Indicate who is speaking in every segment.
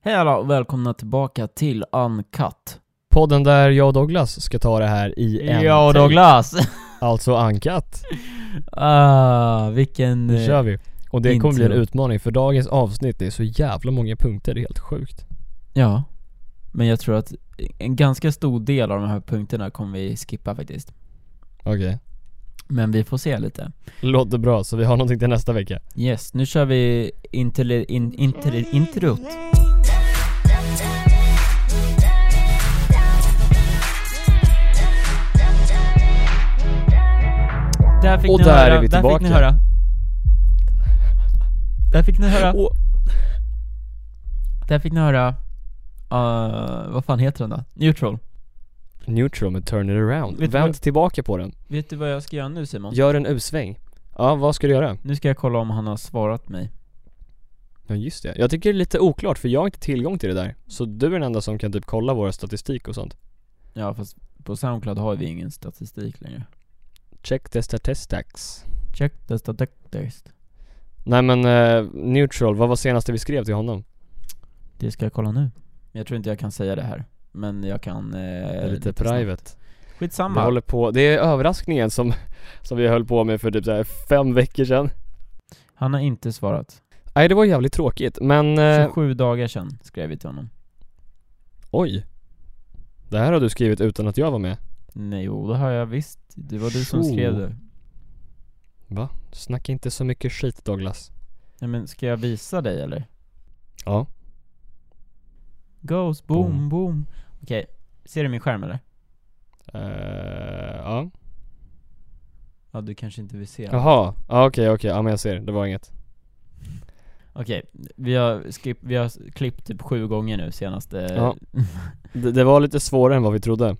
Speaker 1: Hej alla och välkomna tillbaka till Uncut.
Speaker 2: Podden där jag och Douglas ska ta det här i en
Speaker 1: Ja
Speaker 2: take.
Speaker 1: Douglas!
Speaker 2: Alltså ankat.
Speaker 1: ah, vilken...
Speaker 2: Nu kör vi. Och det kommer bli en
Speaker 1: Intro.
Speaker 2: utmaning för dagens avsnitt det är så jävla många punkter, det är helt sjukt.
Speaker 1: Ja. Men jag tror att en ganska stor del av de här punkterna kommer vi skippa faktiskt.
Speaker 2: Okej.
Speaker 1: Men vi får se lite.
Speaker 2: Låter bra, så vi har någonting till nästa vecka.
Speaker 1: Yes, nu kör vi intel- in, intel- introt. Där fick
Speaker 2: Och
Speaker 1: ni
Speaker 2: där
Speaker 1: höra,
Speaker 2: är vi
Speaker 1: Där fick
Speaker 2: tillbaka.
Speaker 1: ni höra. Där fick ni höra.
Speaker 2: Åh.
Speaker 1: Där fick ni höra. eh, vad fan heter den då? Neutral.
Speaker 2: Neutral med turn it around.
Speaker 1: Vet du
Speaker 2: Vänd
Speaker 1: vad-
Speaker 2: tillbaka på den.
Speaker 1: Vet du vad jag ska göra nu Simon?
Speaker 2: Gör en U-sväng. Ja, vad ska du göra?
Speaker 1: Nu ska jag kolla om han har svarat mig.
Speaker 2: Ja just det. Jag tycker det är lite oklart för jag har inte tillgång till det där. Så du är den enda som kan typ kolla våra statistik och sånt.
Speaker 1: Ja fast på Soundcloud har vi ingen statistik längre.
Speaker 2: Check the statistics.
Speaker 1: Check the statistics.
Speaker 2: Nej men eh, neutral, vad var senaste vi skrev till honom?
Speaker 1: Det ska jag kolla nu. Men jag tror inte jag kan säga det här. Men jag kan... Eh,
Speaker 2: Det är lite
Speaker 1: snabbt.
Speaker 2: private. Vi
Speaker 1: Skitsamma.
Speaker 2: håller på, det är överraskningen som, som vi höll på med för typ så här fem veckor sedan.
Speaker 1: Han har inte svarat.
Speaker 2: Nej det var jävligt tråkigt men, eh,
Speaker 1: 27 dagar sedan skrev vi till honom.
Speaker 2: oj. Det här har du skrivit utan att jag var med.
Speaker 1: Nej, jo, det har jag visst. Det var du som
Speaker 2: Tjo.
Speaker 1: skrev det.
Speaker 2: Va? Snacka inte så mycket skit Douglas.
Speaker 1: Nej men ska jag visa dig eller?
Speaker 2: Ja.
Speaker 1: Goes boom boom.
Speaker 2: Boom.
Speaker 1: Okej, ser du min skärm eller?
Speaker 2: Eh, ja.
Speaker 1: Ja, du kanske inte vill se.
Speaker 2: Jaha, ja okej okej, ja men jag ser, det var inget.
Speaker 1: Okej, vi, har skip, vi har klippt typ sju gånger nu senaste...
Speaker 2: Ja. Det, det var lite svårare än Eh. vad vi trodde.
Speaker 1: Eh,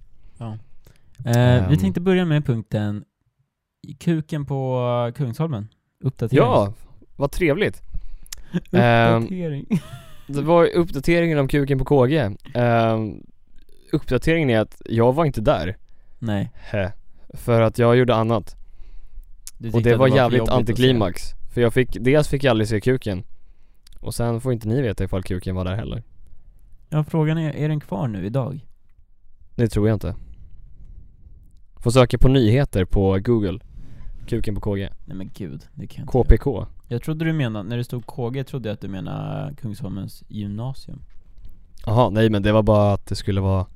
Speaker 1: vi
Speaker 2: Ehm.
Speaker 1: tänkte börja med punkten Kuken på Kungsholmen. Uppdatering.
Speaker 2: Ja, vad trevligt. Ehm.
Speaker 1: Uppdatering.
Speaker 2: Det var uppdateringen om kuken på KG. Ehm, uppdateringen är att jag var inte där.
Speaker 1: Nej.
Speaker 2: Heh. För att jag gjorde annat.
Speaker 1: Du
Speaker 2: Och
Speaker 1: tyckte
Speaker 2: det
Speaker 1: att
Speaker 2: var
Speaker 1: för
Speaker 2: jävligt
Speaker 1: jobbigt att se.
Speaker 2: antiklimax. För jag fick, dels fick jag aldrig se kuken. Och sen får inte ni veta ifall kuken var där heller.
Speaker 1: Ja, frågan är, är den kvar nu idag?
Speaker 2: Det tror jag inte. Får söka på nyheter på google. Kuken på KG.
Speaker 1: Nej men gud, det kan jag inte göra.
Speaker 2: KPK.
Speaker 1: Jag trodde du menade, när det stod KG trodde jag att du menade Kungsholmens gymnasium.
Speaker 2: Jaha, nej men det var bara att det skulle vara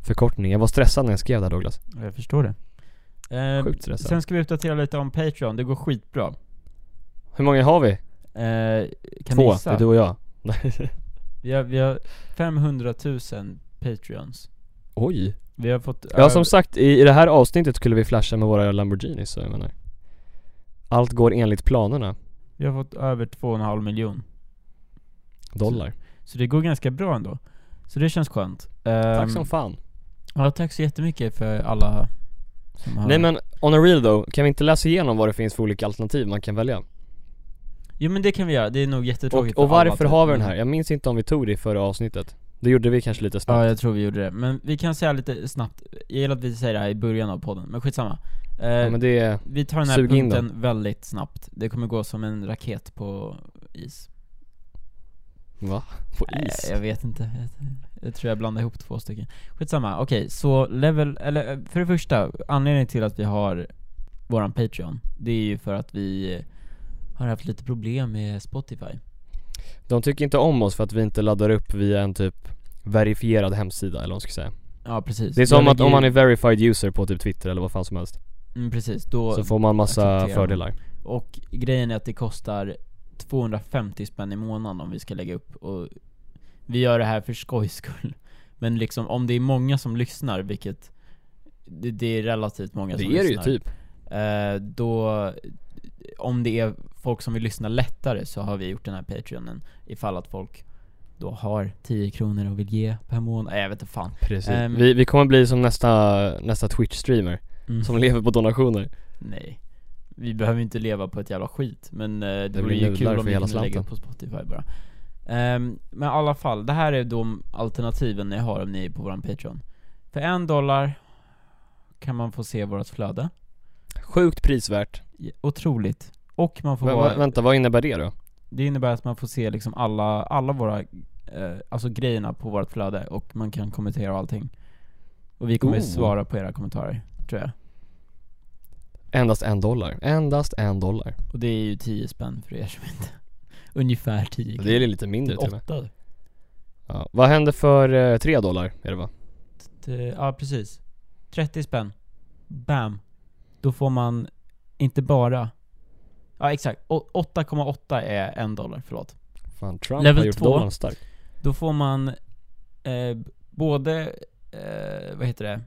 Speaker 2: förkortning. Jag var stressad när jag skrev där Douglas.
Speaker 1: Ja, Jag förstår det. Eh,
Speaker 2: Sjukt stressad.
Speaker 1: sen ska vi uppdatera lite om Patreon, det går skitbra.
Speaker 2: Hur många har vi?
Speaker 1: Eh, kan ni
Speaker 2: Två. Det
Speaker 1: gissa?
Speaker 2: är du och jag.
Speaker 1: Vi, har, vi har 500 000 Patreons.
Speaker 2: Oj.
Speaker 1: Vi har fått...
Speaker 2: Ja som sagt, i, i det här avsnittet skulle vi flasha med våra Lamborghinis så jag menar. Allt går enligt planerna.
Speaker 1: Vi har fått över 2,5 miljon.
Speaker 2: Dollar.
Speaker 1: Så det går ganska bra ändå. Så det känns skönt. Ehm,
Speaker 2: Tack som fan.
Speaker 1: Ja, tack så jättemycket för alla som har...
Speaker 2: Nej men, on a real though, kan vi inte läsa igenom vad det finns för olika alternativ man kan välja?
Speaker 1: Jo men det kan vi göra, det är nog
Speaker 2: Och,
Speaker 1: jättetråkigt
Speaker 2: och
Speaker 1: för alla,
Speaker 2: varför
Speaker 1: typ.
Speaker 2: har vi den
Speaker 1: Men-
Speaker 2: här? Jag minns inte om vi tog det i förra avsnittet Det gjorde vi kanske lite
Speaker 1: Ja,
Speaker 2: snabbt
Speaker 1: jag tror vi gjorde det. Men vi kan säga lite snabbt, jag gillar att vi säger det här i början av podden, men skitsamma. Eh,
Speaker 2: ja, men det är,
Speaker 1: vi tar den här
Speaker 2: sug in
Speaker 1: punkten väldigt snabbt. Det kommer gå som en raket på is.
Speaker 2: va? På is?
Speaker 1: Nej, jag vet inte. Jag, jag tror jag blandade ihop två stycken. Skitsamma, okej. så level, eller eh, för det första, anledningen till att vi har våran Patreon, det är ju för att vi har haft lite problem med Spotify.
Speaker 2: De tycker inte om oss för att vi inte laddar upp via en typ verifierad hemsida eller vad man ska säga
Speaker 1: Ja precis.
Speaker 2: Det är
Speaker 1: Jag
Speaker 2: som att
Speaker 1: lägger
Speaker 2: om man
Speaker 1: ju-
Speaker 2: är verified user på typ Twitter eller vad fan som helst
Speaker 1: Mm, precis, då,
Speaker 2: Så får man massa
Speaker 1: accepterar man.
Speaker 2: fördelar
Speaker 1: Och grejen är att det kostar 250 spänn i månaden om vi ska lägga upp och vi gör det här för skojs skull. Men liksom om det är många som lyssnar, vilket det, det är relativt många
Speaker 2: Det
Speaker 1: som
Speaker 2: är det ju
Speaker 1: lyssnar.
Speaker 2: typ
Speaker 1: Eh, då, om det är folk som vill lyssna lättare så har vi gjort den här Patreonen ifall att folk då har 10 kronor och vill ge per månad. Nej jag vet inte fan.
Speaker 2: Precis
Speaker 1: Ehm.
Speaker 2: vi, vi kommer bli som nästa, nästa Twitch-streamer
Speaker 1: Mm.
Speaker 2: Som lever på donationer
Speaker 1: Nej. Vi behöver inte leva på ett jävla skit, men eh, det,
Speaker 2: blir
Speaker 1: vore ju
Speaker 2: nudlar
Speaker 1: kul
Speaker 2: för
Speaker 1: om vi
Speaker 2: hela
Speaker 1: kunde lägga
Speaker 2: slanten.
Speaker 1: upp på Spotify bara. Ehm, men i alla fall, det här är de alternativen ni har om ni är på våran Patreon. För en dollar kan man få se vårt flöde.
Speaker 2: Sjukt prisvärt
Speaker 1: Otroligt. Och man får
Speaker 2: Vä-
Speaker 1: vara,
Speaker 2: Vänta, vad innebär det då?
Speaker 1: det innebär att man får se liksom alla, alla våra eh, alltså grejerna på vårt flöde och man kan kommentera och allting. Och vi kommer
Speaker 2: Oh.
Speaker 1: svara på era kommentarer, tror jag.
Speaker 2: Endast en dollar. Endast en dollar.
Speaker 1: Och det är ju 10 spänn för er som inte... Ungefär 10
Speaker 2: Det är lite mindre
Speaker 1: typ
Speaker 2: till och med.
Speaker 1: 8.
Speaker 2: Ja. Vad händer för eh, tre dollar är det va?
Speaker 1: Ja, precis. 30 spänn. Bam. Då får man inte bara... Ja, exakt. Å- 8,8 är en dollar, förlåt.
Speaker 2: Fan Trump
Speaker 1: Level
Speaker 2: har gjort
Speaker 1: två.
Speaker 2: dollarn stark.
Speaker 1: Då får man eh, både, eh, vad heter det?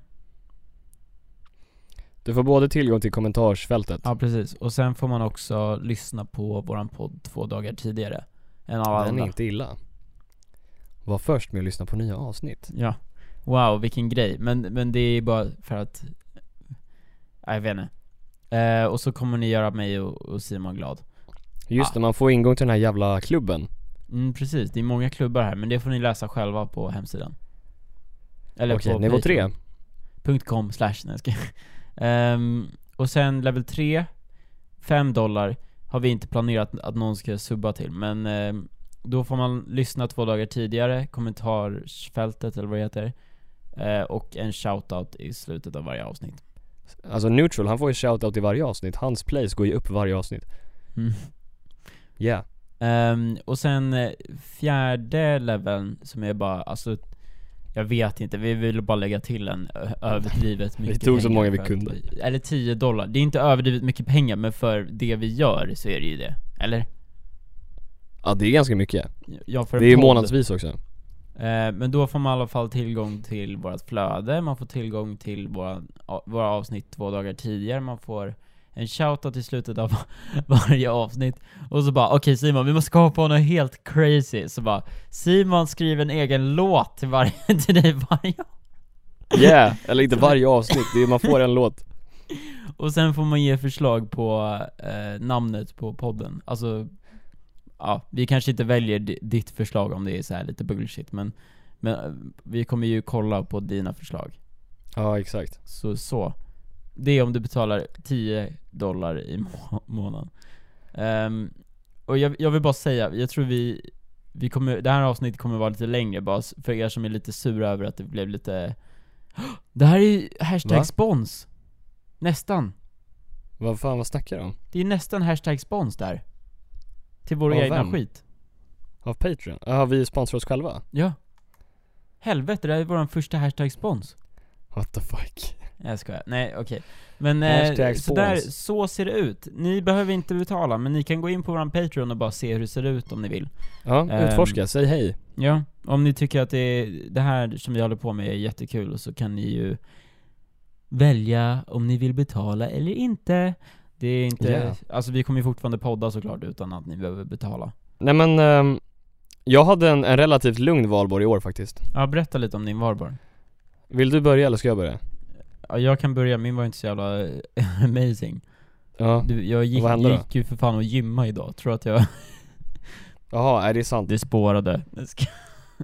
Speaker 2: Du får både tillgång till kommentarsfältet.
Speaker 1: Ja precis, och sen får man också lyssna på våran podd två dagar tidigare än alla
Speaker 2: Den är
Speaker 1: andra.
Speaker 2: inte illa. Var först med att lyssna på nya avsnitt.
Speaker 1: Ja. Wow, vilken grej. Men, men det är bara för att, ja, jag vet inte. Eh, och så kommer ni göra mig och, och Simon glad.
Speaker 2: Just
Speaker 1: Ah.
Speaker 2: det, man får ingång till den här jävla klubben.
Speaker 1: Mm, precis, det är många klubbar här, men det får ni läsa själva på hemsidan. Eller
Speaker 2: Okej,
Speaker 1: på
Speaker 2: nivå
Speaker 1: Patreon.
Speaker 2: tre.
Speaker 1: .com slash, nej jag skojar. Ehm, Och sen level 3, 5 dollar har vi inte planerat att någon ska subba till men ehm, då får man lyssna två dagar tidigare, kommentarsfältet eller vad det heter eh, och en shoutout i slutet av varje avsnitt.
Speaker 2: Alltså neutral, han får ju shoutout i varje avsnitt. Hans plays går ju upp varje avsnitt.
Speaker 1: Mm.
Speaker 2: Yeah.
Speaker 1: Ehm, och sen eh, fjärde leveln som är bara, alltså jag vet inte, vi ville bara lägga till en ö- överdrivet mycket
Speaker 2: tog så
Speaker 1: pengar
Speaker 2: många vi
Speaker 1: för att
Speaker 2: kunde.
Speaker 1: vi- Eller 10 dollar, det är inte överdrivet mycket pengar men för det vi gör så är det ju det, eller?
Speaker 2: Ja det är ganska mycket.
Speaker 1: Ja, för en
Speaker 2: det är ju
Speaker 1: podd.
Speaker 2: månadsvis också.
Speaker 1: Eh, Men då får man i alla fall tillgång till vårt flöde, man får tillgång till våra, a- våra avsnitt två dagar tidigare, man får en shoutout i slutet av varje avsnitt. Och så bara, okej Simon, vi måste komma på något helt crazy. Så bara, Simon skriver en egen låt till, varje, till dig varje
Speaker 2: Yeah, eller inte varje avsnitt. Det är, man får en låt.
Speaker 1: Och sen får man ge förslag på eh, namnet på podden. Alltså, ja, vi kanske inte väljer di- ditt förslag om det är så här lite bullshit, men, men eh, vi kommer ju kolla på dina förslag.
Speaker 2: Ja exakt.
Speaker 1: Så, så. Det är om du betalar 10 dollar i må- månaden. Ehm, och jag, jag vill bara säga, jag tror vi, vi kommer, det här avsnittet kommer vara lite längre bara, s- för er som är lite sura över att det blev lite Det här är ju hashtag
Speaker 2: Va?
Speaker 1: spons! Nästan.
Speaker 2: Vad fan vad snackar du om?
Speaker 1: Det är nästan hashtag spons där. Till vår
Speaker 2: Av
Speaker 1: egna
Speaker 2: vem?
Speaker 1: skit.
Speaker 2: Av Patreon? Har vi sponsrar oss själva?
Speaker 1: Ja. Helvete, det här är vår första hashtag spons.
Speaker 2: What the fuck?
Speaker 1: Nej, Jag skojar. Nej, okej. Men eh,
Speaker 2: Hashtag
Speaker 1: så, där,
Speaker 2: spons.
Speaker 1: så ser det ut. Ni behöver inte betala, men ni kan gå in på vår Patreon och bara se hur det ser ut om ni vill.
Speaker 2: Ja,
Speaker 1: Ehm.
Speaker 2: utforska, säg hej.
Speaker 1: Ja, om ni tycker att det, det här som vi håller på med är jättekul så kan ni ju välja om ni vill betala eller inte. Det är inte,
Speaker 2: Yeah.
Speaker 1: alltså vi kommer ju fortfarande podda såklart utan att ni behöver betala.
Speaker 2: Nej men, ehm, jag hade en, en relativt lugn valborg i år faktiskt.
Speaker 1: Ja, berätta lite om din Valborg.
Speaker 2: Vill du börja eller ska jag börja?
Speaker 1: Ja, jag kan börja, min var inte så jävla eh, amazing.
Speaker 2: Ja.
Speaker 1: Du, jag gick,
Speaker 2: Vad hände då?
Speaker 1: gick ju för fan och gymma idag, tror att jag...
Speaker 2: Jaha, nej det är sant.
Speaker 1: Det spårade.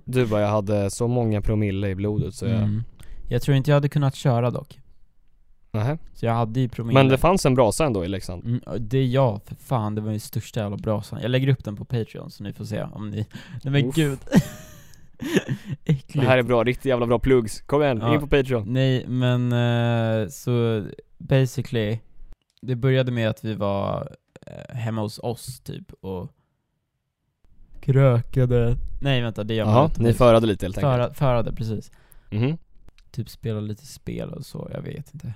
Speaker 2: Du bara, jag hade så många promille i blodet så jag...
Speaker 1: Mm. Jag tror inte jag hade kunnat köra dock.
Speaker 2: Nähä.
Speaker 1: Så jag hade ju promille.
Speaker 2: Men det fanns en brasa ändå i Leksand.
Speaker 1: Mm, ja, det är jag, för fan, det var ju största jävla brasan. Jag lägger upp den på Patreon så ni får se om ni... Nej men
Speaker 2: Uff.
Speaker 1: gud.
Speaker 2: Det
Speaker 1: Äckligt.
Speaker 2: här är bra, riktigt jävla bra plugs. Kom igen,
Speaker 1: Ja.
Speaker 2: in på Patreon.
Speaker 1: Nej men eh, så basically, det började med att vi var eh, hemma hos oss typ och krökade. Nej vänta, det gör man
Speaker 2: Jaha,
Speaker 1: utomhus.
Speaker 2: ni förade lite helt enkelt.
Speaker 1: Föra, förade, precis.
Speaker 2: Mhm.
Speaker 1: Typ spela lite spel och så, jag vet inte.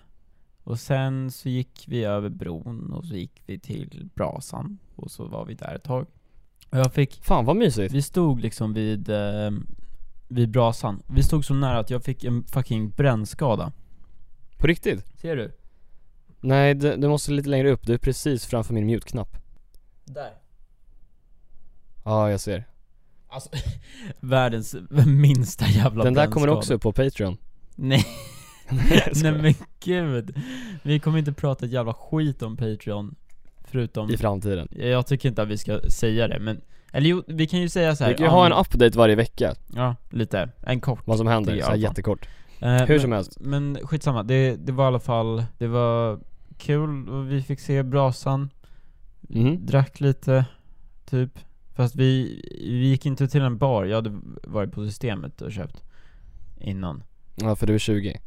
Speaker 1: Och sen så gick vi över bron och så gick vi till brasan och så var vi där ett tag. Och jag fick
Speaker 2: Fan vad mysigt.
Speaker 1: vi stod liksom vid, eh, vid brasan. Vi stod så nära att jag fick en fucking brännskada.
Speaker 2: På riktigt.
Speaker 1: Ser du?
Speaker 2: Nej, du, du måste lite längre upp. Du är precis framför min mute-knapp.
Speaker 1: Där.
Speaker 2: Ja, jag ser.
Speaker 1: Alltså, världens minsta jävla
Speaker 2: Den där kommer
Speaker 1: brännskada.
Speaker 2: också upp på Patreon.
Speaker 1: Nej,
Speaker 2: Nej,
Speaker 1: nej
Speaker 2: men...
Speaker 1: men gud. Vi kommer inte prata ett jävla skit om Patreon. Förutom,
Speaker 2: I framtiden.
Speaker 1: jag tycker inte att vi ska säga det men, eller jo, vi kan ju säga så här.
Speaker 2: Vi kan ju ha en
Speaker 1: ja,
Speaker 2: update varje vecka,
Speaker 1: Ja, lite. En kort.
Speaker 2: vad som händer,
Speaker 1: Det är
Speaker 2: så här
Speaker 1: i alla fall.
Speaker 2: jättekort.
Speaker 1: Eh,
Speaker 2: Hur
Speaker 1: men-
Speaker 2: som helst.
Speaker 1: Men skitsamma, det, det var i alla fall, det var kul och vi fick se brasan,
Speaker 2: Mhm.
Speaker 1: drack lite, typ Fast vi, vi gick inte till en bar, jag hade varit på systemet och köpt innan
Speaker 2: Ja, för du är 20.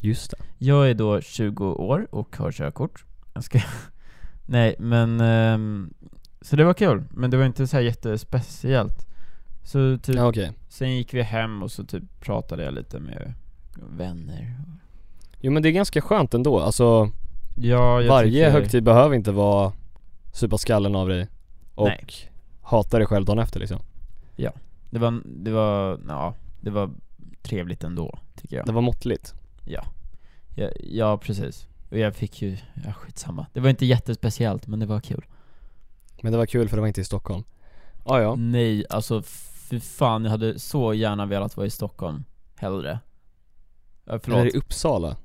Speaker 2: Just det.
Speaker 1: Jag är då 20 år och har körkort. Jag ska... Nej, men... ehm, så det var kul, men det var inte så här jättespeciellt. Så typ,
Speaker 2: Ja, okej.
Speaker 1: sen gick vi hem och så typ pratade jag lite med vänner.
Speaker 2: Jo men det är ganska skönt ändå. Alltså,
Speaker 1: Ja, jag
Speaker 2: varje
Speaker 1: tycker-
Speaker 2: högtid behöver inte vara supa skallen av dig och
Speaker 1: Nej.
Speaker 2: hata dig själv dagen efter liksom.
Speaker 1: Det var, det var, ja, det var trevligt ändå, tycker jag.
Speaker 2: Det var måttligt.
Speaker 1: Ja. ja. Ja, precis. Och jag fick ju, ja skitsamma. Det var inte jättespeciellt, men det var kul.
Speaker 2: Men det var kul för det var inte i Stockholm. Ah, ja.
Speaker 1: Nej, alltså fy fan, jag hade så gärna velat vara i Stockholm. Hellre. Ja, förlåt.
Speaker 2: Eller i Uppsala.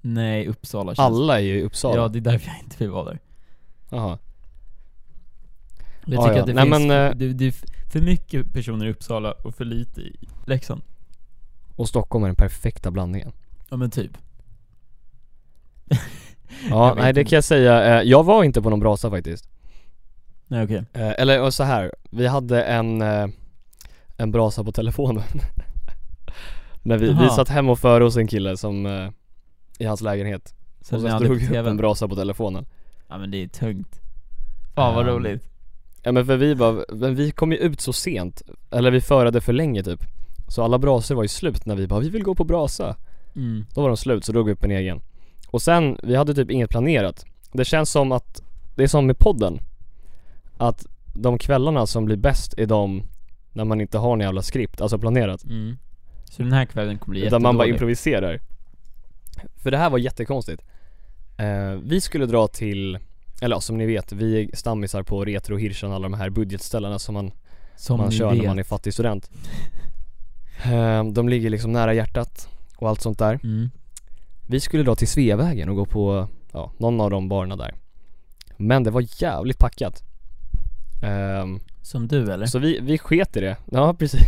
Speaker 1: Nej, Uppsala känns...
Speaker 2: Alla är ju i
Speaker 1: Ja,
Speaker 2: Uppsala.
Speaker 1: det är därför jag inte vill vara där.
Speaker 2: Jaha.
Speaker 1: Jag
Speaker 2: Ja,
Speaker 1: tycker
Speaker 2: ja.
Speaker 1: att det
Speaker 2: Nej,
Speaker 1: finns
Speaker 2: men, eh,
Speaker 1: det, det är för mycket personer i Uppsala och för lite i Leksand.
Speaker 2: Och Stockholm är den perfekta blandningen.
Speaker 1: Ja men typ.
Speaker 2: Ja,
Speaker 1: Jag vet
Speaker 2: nej det
Speaker 1: inte.
Speaker 2: kan jag säga. Eh, Jag var inte på någon brasa faktiskt.
Speaker 1: Nej okej.
Speaker 2: Eh, Eller och så här. vi hade en, eh, en brasa på telefonen. När vi, vi
Speaker 1: Jaha.
Speaker 2: satt hemma och före hos en kille som, eh, i hans lägenhet.
Speaker 1: Så
Speaker 2: och
Speaker 1: ni
Speaker 2: sen
Speaker 1: hade på
Speaker 2: drog vi upp
Speaker 1: TV:n.
Speaker 2: en brasa på telefonen.
Speaker 1: Ja men det är tungt. Fan vad
Speaker 2: Ehm,
Speaker 1: roligt.
Speaker 2: Ja men för vi bara, men vi kom ju ut så sent. Eller vi förade för länge typ. Så alla brasor var ju slut när vi bara, vi vill gå på brasa.
Speaker 1: Mm.
Speaker 2: Då var de slut så drog vi upp en egen. Och sen, vi hade typ inget planerat. Det känns som att, det är som med podden. Att de kvällarna som blir bäst är de när man inte har en jävla skript, alltså planerat.
Speaker 1: Mm. Så den här kvällen kommer bli
Speaker 2: Utan man bara
Speaker 1: jättedålig.
Speaker 2: improviserar. För det här var jättekonstigt. Eh, vi skulle dra till, eller ja, som ni vet, vi är stammisar på Retro Hirschen, alla de här budgetställena som man
Speaker 1: Som
Speaker 2: man
Speaker 1: ni
Speaker 2: kör
Speaker 1: vet.
Speaker 2: när man är fattig student. Ehm, De ligger liksom nära hjärtat och allt sånt där.
Speaker 1: mm.
Speaker 2: Vi skulle dra till Sveavägen och gå på ja, någon av de barerna där. Men det var jävligt packat. Ehm,
Speaker 1: Som du eller?
Speaker 2: så vi, vi sket i det. Ja precis.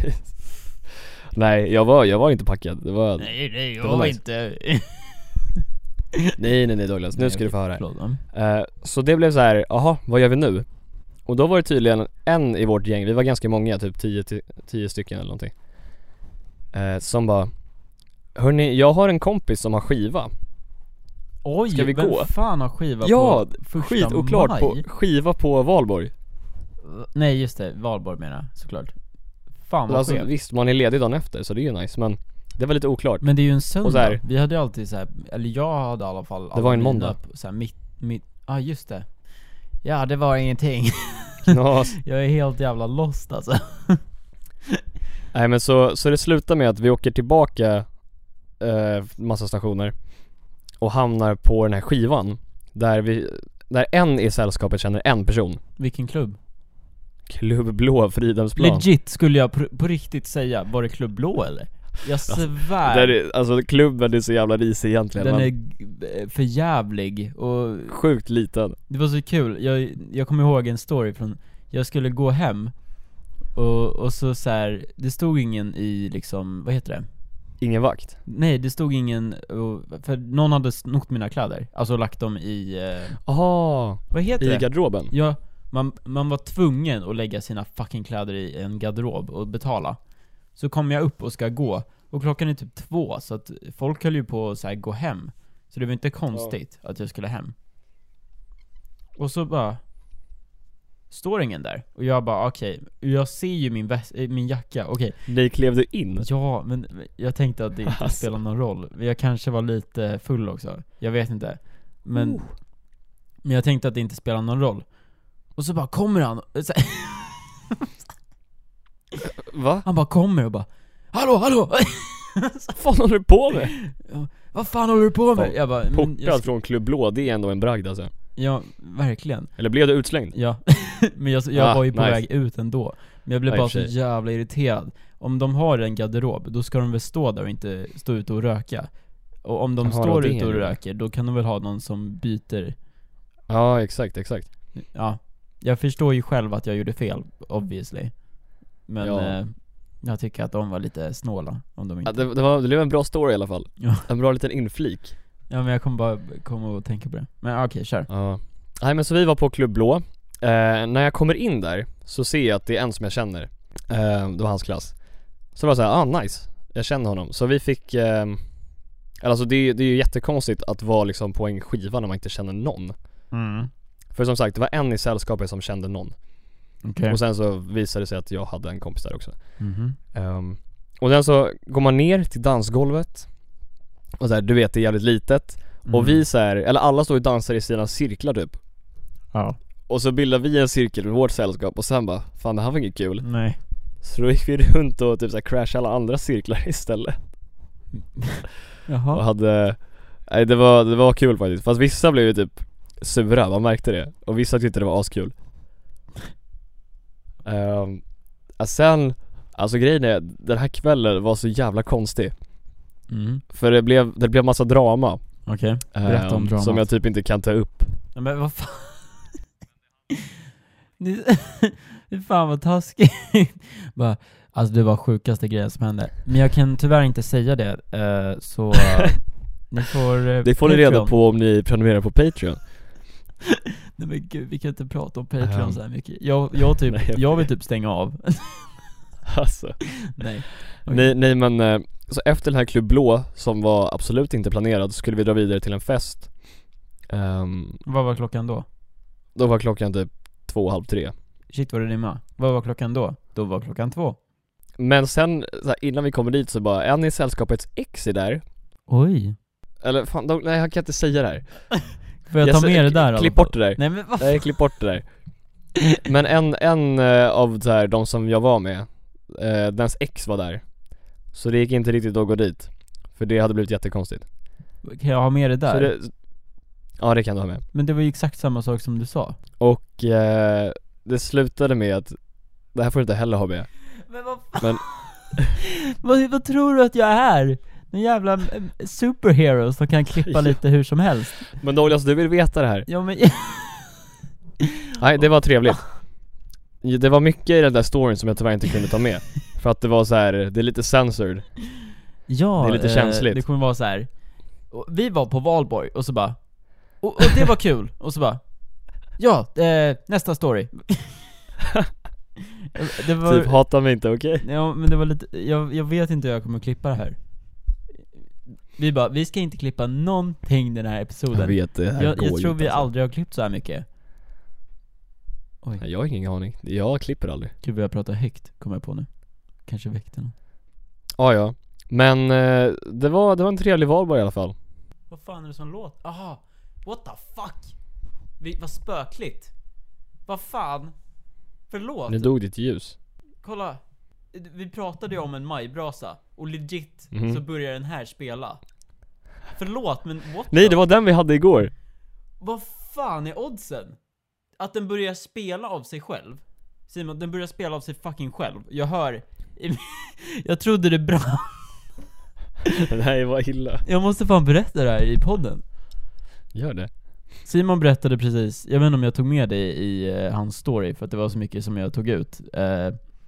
Speaker 2: Nej jag var, jag var inte packad. Det var, nej.
Speaker 1: Nej nej, jag
Speaker 2: var
Speaker 1: var
Speaker 2: nice.
Speaker 1: inte...
Speaker 2: nej nej Douglas, nu ska du få höra.
Speaker 1: Förlåt, va?
Speaker 2: Eh, Så det blev så här, jaha vad gör vi nu? Och då var det tydligen en i vårt gäng, vi var ganska många, typ 10 ti- 10 stycken eller någonting eh, Som bara Hörni, jag har en kompis som har skiva
Speaker 1: Oj,
Speaker 2: Ska vi
Speaker 1: vem
Speaker 2: gå?
Speaker 1: fan har skiva
Speaker 2: Ja,
Speaker 1: på första
Speaker 2: Skit oklart
Speaker 1: maj?
Speaker 2: på, skiva på valborg
Speaker 1: Nej just det, valborg menar jag såklart. Fan vad
Speaker 2: Alltså
Speaker 1: skevt.
Speaker 2: visst, man är ledig dagen efter så det är ju nice men Det var lite oklart
Speaker 1: Men det är ju en
Speaker 2: Och så
Speaker 1: söndag.
Speaker 2: här-
Speaker 1: Vi hade ju alltid så här, eller jag hade i alla fall alla
Speaker 2: var en
Speaker 1: mina
Speaker 2: måndag.
Speaker 1: på Så här, mitt, mitt, ja ah, just det. Ja det var ingenting.
Speaker 2: ja,
Speaker 1: Jag är helt jävla lost alltså.
Speaker 2: Nej men så, så det slutar med att vi åker tillbaka eh, massa stationer och hamnar på den här skivan där vi, där en i sällskapet känner en person.
Speaker 1: Vilken klubb?
Speaker 2: Klubb Blå Fridhemsplan.
Speaker 1: Legit skulle jag på, på riktigt säga, var det Klubb Blå eller? Jag svär.
Speaker 2: Alltså, Där är, alltså klubben är så jävla risig egentligen.
Speaker 1: den
Speaker 2: men
Speaker 1: är g- för jävlig och
Speaker 2: Sjukt liten.
Speaker 1: Det var så kul, jag, jag kommer ihåg en story från, jag skulle gå hem och, och så, så här, det stod ingen i liksom, vad heter det?
Speaker 2: Ingen vakt.
Speaker 1: Nej det stod ingen, och- för någon hade snott mina kläder, alltså lagt dem i, eh,
Speaker 2: Aha,
Speaker 1: vad heter
Speaker 2: I
Speaker 1: det?
Speaker 2: garderoben.
Speaker 1: Ja, man, man var tvungen att lägga sina fucking kläder i en garderob och betala. Så kommer jag upp och ska gå, och klockan är typ två, så att folk höll ju på att så här, gå hem. Så det var inte konstigt att jag skulle hem. Och så bara... Står ingen där? Och jag bara okej, jag ser ju min, väs- eh, min jacka, okej.
Speaker 2: Ni klev du in.
Speaker 1: Ja, men jag tänkte att det inte
Speaker 2: Alltså.
Speaker 1: spelar någon roll. Men Jag kanske var lite full också. Jag vet inte. Men,
Speaker 2: Oh.
Speaker 1: men jag tänkte att det inte spelar någon roll. Och så bara kommer han. Så,
Speaker 2: Va?
Speaker 1: han bara kommer och bara Hallå, hallå!
Speaker 2: Vad fan håller du på med?
Speaker 1: Vad fan håller du på med?
Speaker 2: Fan,
Speaker 1: Jag bara, men Mm, jag,
Speaker 2: Portad från Klubb Blå, det är ändå en bragd alltså.
Speaker 1: ja, verkligen.
Speaker 2: Eller blev du utslängd?
Speaker 1: Ja. men jag, jag
Speaker 2: Ah,
Speaker 1: var ju på
Speaker 2: nice.
Speaker 1: väg ut ändå. Men jag blev
Speaker 2: Ja, i
Speaker 1: bara
Speaker 2: och
Speaker 1: så
Speaker 2: för sig.
Speaker 1: jävla irriterad. Om de har en garderob, då ska de väl stå där och inte stå ute och röka. Och om de
Speaker 2: Jaha, det var
Speaker 1: står
Speaker 2: det
Speaker 1: ute och
Speaker 2: det var.
Speaker 1: röker, då kan de väl ha någon som byter
Speaker 2: Ja exakt, exakt.
Speaker 1: Ja, jag förstår ju själv att jag gjorde fel, obviously. Men
Speaker 2: Ja.
Speaker 1: eh, jag tycker att de var lite snåla, om de
Speaker 2: Ja,
Speaker 1: inte...
Speaker 2: det, det, var, det blev en bra story i alla fall.
Speaker 1: Ja.
Speaker 2: En bra liten inflik.
Speaker 1: Ja men jag kommer bara komma och tänka på det. Men okej, kör.
Speaker 2: Ja. Nej men så vi var på Klubb Blå. Eh, när jag kommer in där Så ser jag att det är en som jag känner eh, Det var hans klass Så var jag såhär, ah nice Jag känner honom, så vi fick eh, eller Alltså det, är- det är ju jättekonstigt att vara liksom på en skiva när man inte känner någon
Speaker 1: Mm.
Speaker 2: För som sagt, det var en i sällskapet som kände någon
Speaker 1: Okej.
Speaker 2: Och sen så visade det sig att jag hade en kompis där också
Speaker 1: Mhm.
Speaker 2: Ehm, och sen så går man ner till dansgolvet Och så här, du vet det är jävligt litet
Speaker 1: Mm.
Speaker 2: Och vi så här, eller alla står och dansar i sina cirklar typ
Speaker 1: Ja.
Speaker 2: Och så bildar vi en cirkel med vårt sällskap och sen bara Fan det här var inget kul
Speaker 1: Nej.
Speaker 2: Så då gick vi runt och typ så här crashade alla andra cirklar istället Och
Speaker 1: Jaha.
Speaker 2: hade Nej det var, det var kul faktiskt Fast vissa blev ju typ sura, man märkte det Och vissa tyckte det var askul um, Sen Alltså grejen är, den här kvällen var så jävla konstig
Speaker 1: Mm.
Speaker 2: För det blev, det blev massa drama
Speaker 1: Okej.
Speaker 2: eh,
Speaker 1: Berätta om dramat.
Speaker 2: Som jag typ inte kan ta upp
Speaker 1: Ja, Men vad fan? Ni- Fy fan vad taskigt. Bara, alltså det var sjukaste grejen som hände. Men jag kan tyvärr inte säga det, eh, så ni får... eh,
Speaker 2: Det får ni reda
Speaker 1: Patreon.
Speaker 2: på om ni prenumererar på Patreon
Speaker 1: Nej men gud, vi kan inte prata om Patreon
Speaker 2: Ehm.
Speaker 1: så här mycket. Jag, jag typ,
Speaker 2: Nej,
Speaker 1: jag,
Speaker 2: jag
Speaker 1: vill
Speaker 2: vet.
Speaker 1: typ stänga av.
Speaker 2: Alltså,
Speaker 1: Nej.
Speaker 2: nej, nej men eh, Så efter den här Klubb Blå som var absolut inte planerad så skulle vi dra vidare till en fest Ehm,
Speaker 1: Vad var klockan då?
Speaker 2: Då var klockan typ två, halv tre
Speaker 1: Shit vad det rimma. Vad var klockan då? Då var klockan två.
Speaker 2: Men sen, så här, innan vi kommer dit så bara, en i sällskapets ex är där
Speaker 1: Oj.
Speaker 2: Eller fan, de, nej jag kan inte säga det här
Speaker 1: Får jag,
Speaker 2: Jag
Speaker 1: ta
Speaker 2: ser-
Speaker 1: med det
Speaker 2: k-
Speaker 1: där
Speaker 2: Klipp
Speaker 1: alltså?
Speaker 2: bort det där
Speaker 1: Nej men vad
Speaker 2: Nej klipp bort det där Men en, en eh, av så här, de som jag var med, eh, dens ex var där Så det gick inte riktigt att gå dit För det hade blivit jättekonstigt
Speaker 1: Kan jag ha med det
Speaker 2: Så
Speaker 1: där?
Speaker 2: det, Ja det kan du ha med
Speaker 1: Men det var ju exakt samma sak som du sa.
Speaker 2: Och eh, det slutade med att Det här får du inte heller ha med
Speaker 1: Men vad
Speaker 2: Men-
Speaker 1: vad, vad tror du att jag är? En jävla eh, superhero som kan klippa
Speaker 2: Ja.
Speaker 1: lite hur som helst.
Speaker 2: Men Douglas du vill veta det här
Speaker 1: Ja men...
Speaker 2: Nej det var trevligt Det var mycket i den där storyn som jag tyvärr inte kunde ta med För att det var så här, det är lite censored
Speaker 1: Ja,
Speaker 2: Det är lite
Speaker 1: eh,
Speaker 2: känsligt.
Speaker 1: Det kommer vara så här. Och Vi var på valborg och så bara, och, och det var kul, och så bara Ja, eh, nästa story. det var,
Speaker 2: Typ hata mig inte okej?
Speaker 1: ja, men det var lite, jag, jag vet inte hur jag kommer klippa det här. Vi bara, vi ska inte klippa någonting den här episoden.
Speaker 2: vet det här
Speaker 1: jag,
Speaker 2: går
Speaker 1: jag
Speaker 2: ju
Speaker 1: tror
Speaker 2: inte,
Speaker 1: vi
Speaker 2: alltså.
Speaker 1: aldrig har klippt så här mycket. Oj,
Speaker 2: Nej, Jag har ingen aning, jag klipper aldrig
Speaker 1: gud vad jag pratar högt, kommer jag på nu. Kanske väckte någon.
Speaker 2: Ja, ja. Men eh, det, var, det var en trevlig valborg i alla fall.
Speaker 1: Vad fan är det som låter? Aha, what the fuck? Vi, vad spökligt. Vad fan? Förlåt.
Speaker 2: Nu dog ditt ljus.
Speaker 1: Kolla. Vi pratade ju om en majbrasa och legit
Speaker 2: Mhm.
Speaker 1: så börjar den här spela. Förlåt men what
Speaker 2: Nej,
Speaker 1: the-
Speaker 2: det var den vi hade igår.
Speaker 1: Vad fan är oddsen? Att den börjar spela av sig själv? Simon, den börjar spela av sig fucking själv. Jag hör... Jag trodde det brann.
Speaker 2: Nej, vad illa.
Speaker 1: Jag måste fan berätta det här i podden.
Speaker 2: Gör det.
Speaker 1: Simon berättade precis, jag vet inte om jag tog med det i eh, hans story för att det var så mycket som jag tog ut. Eh,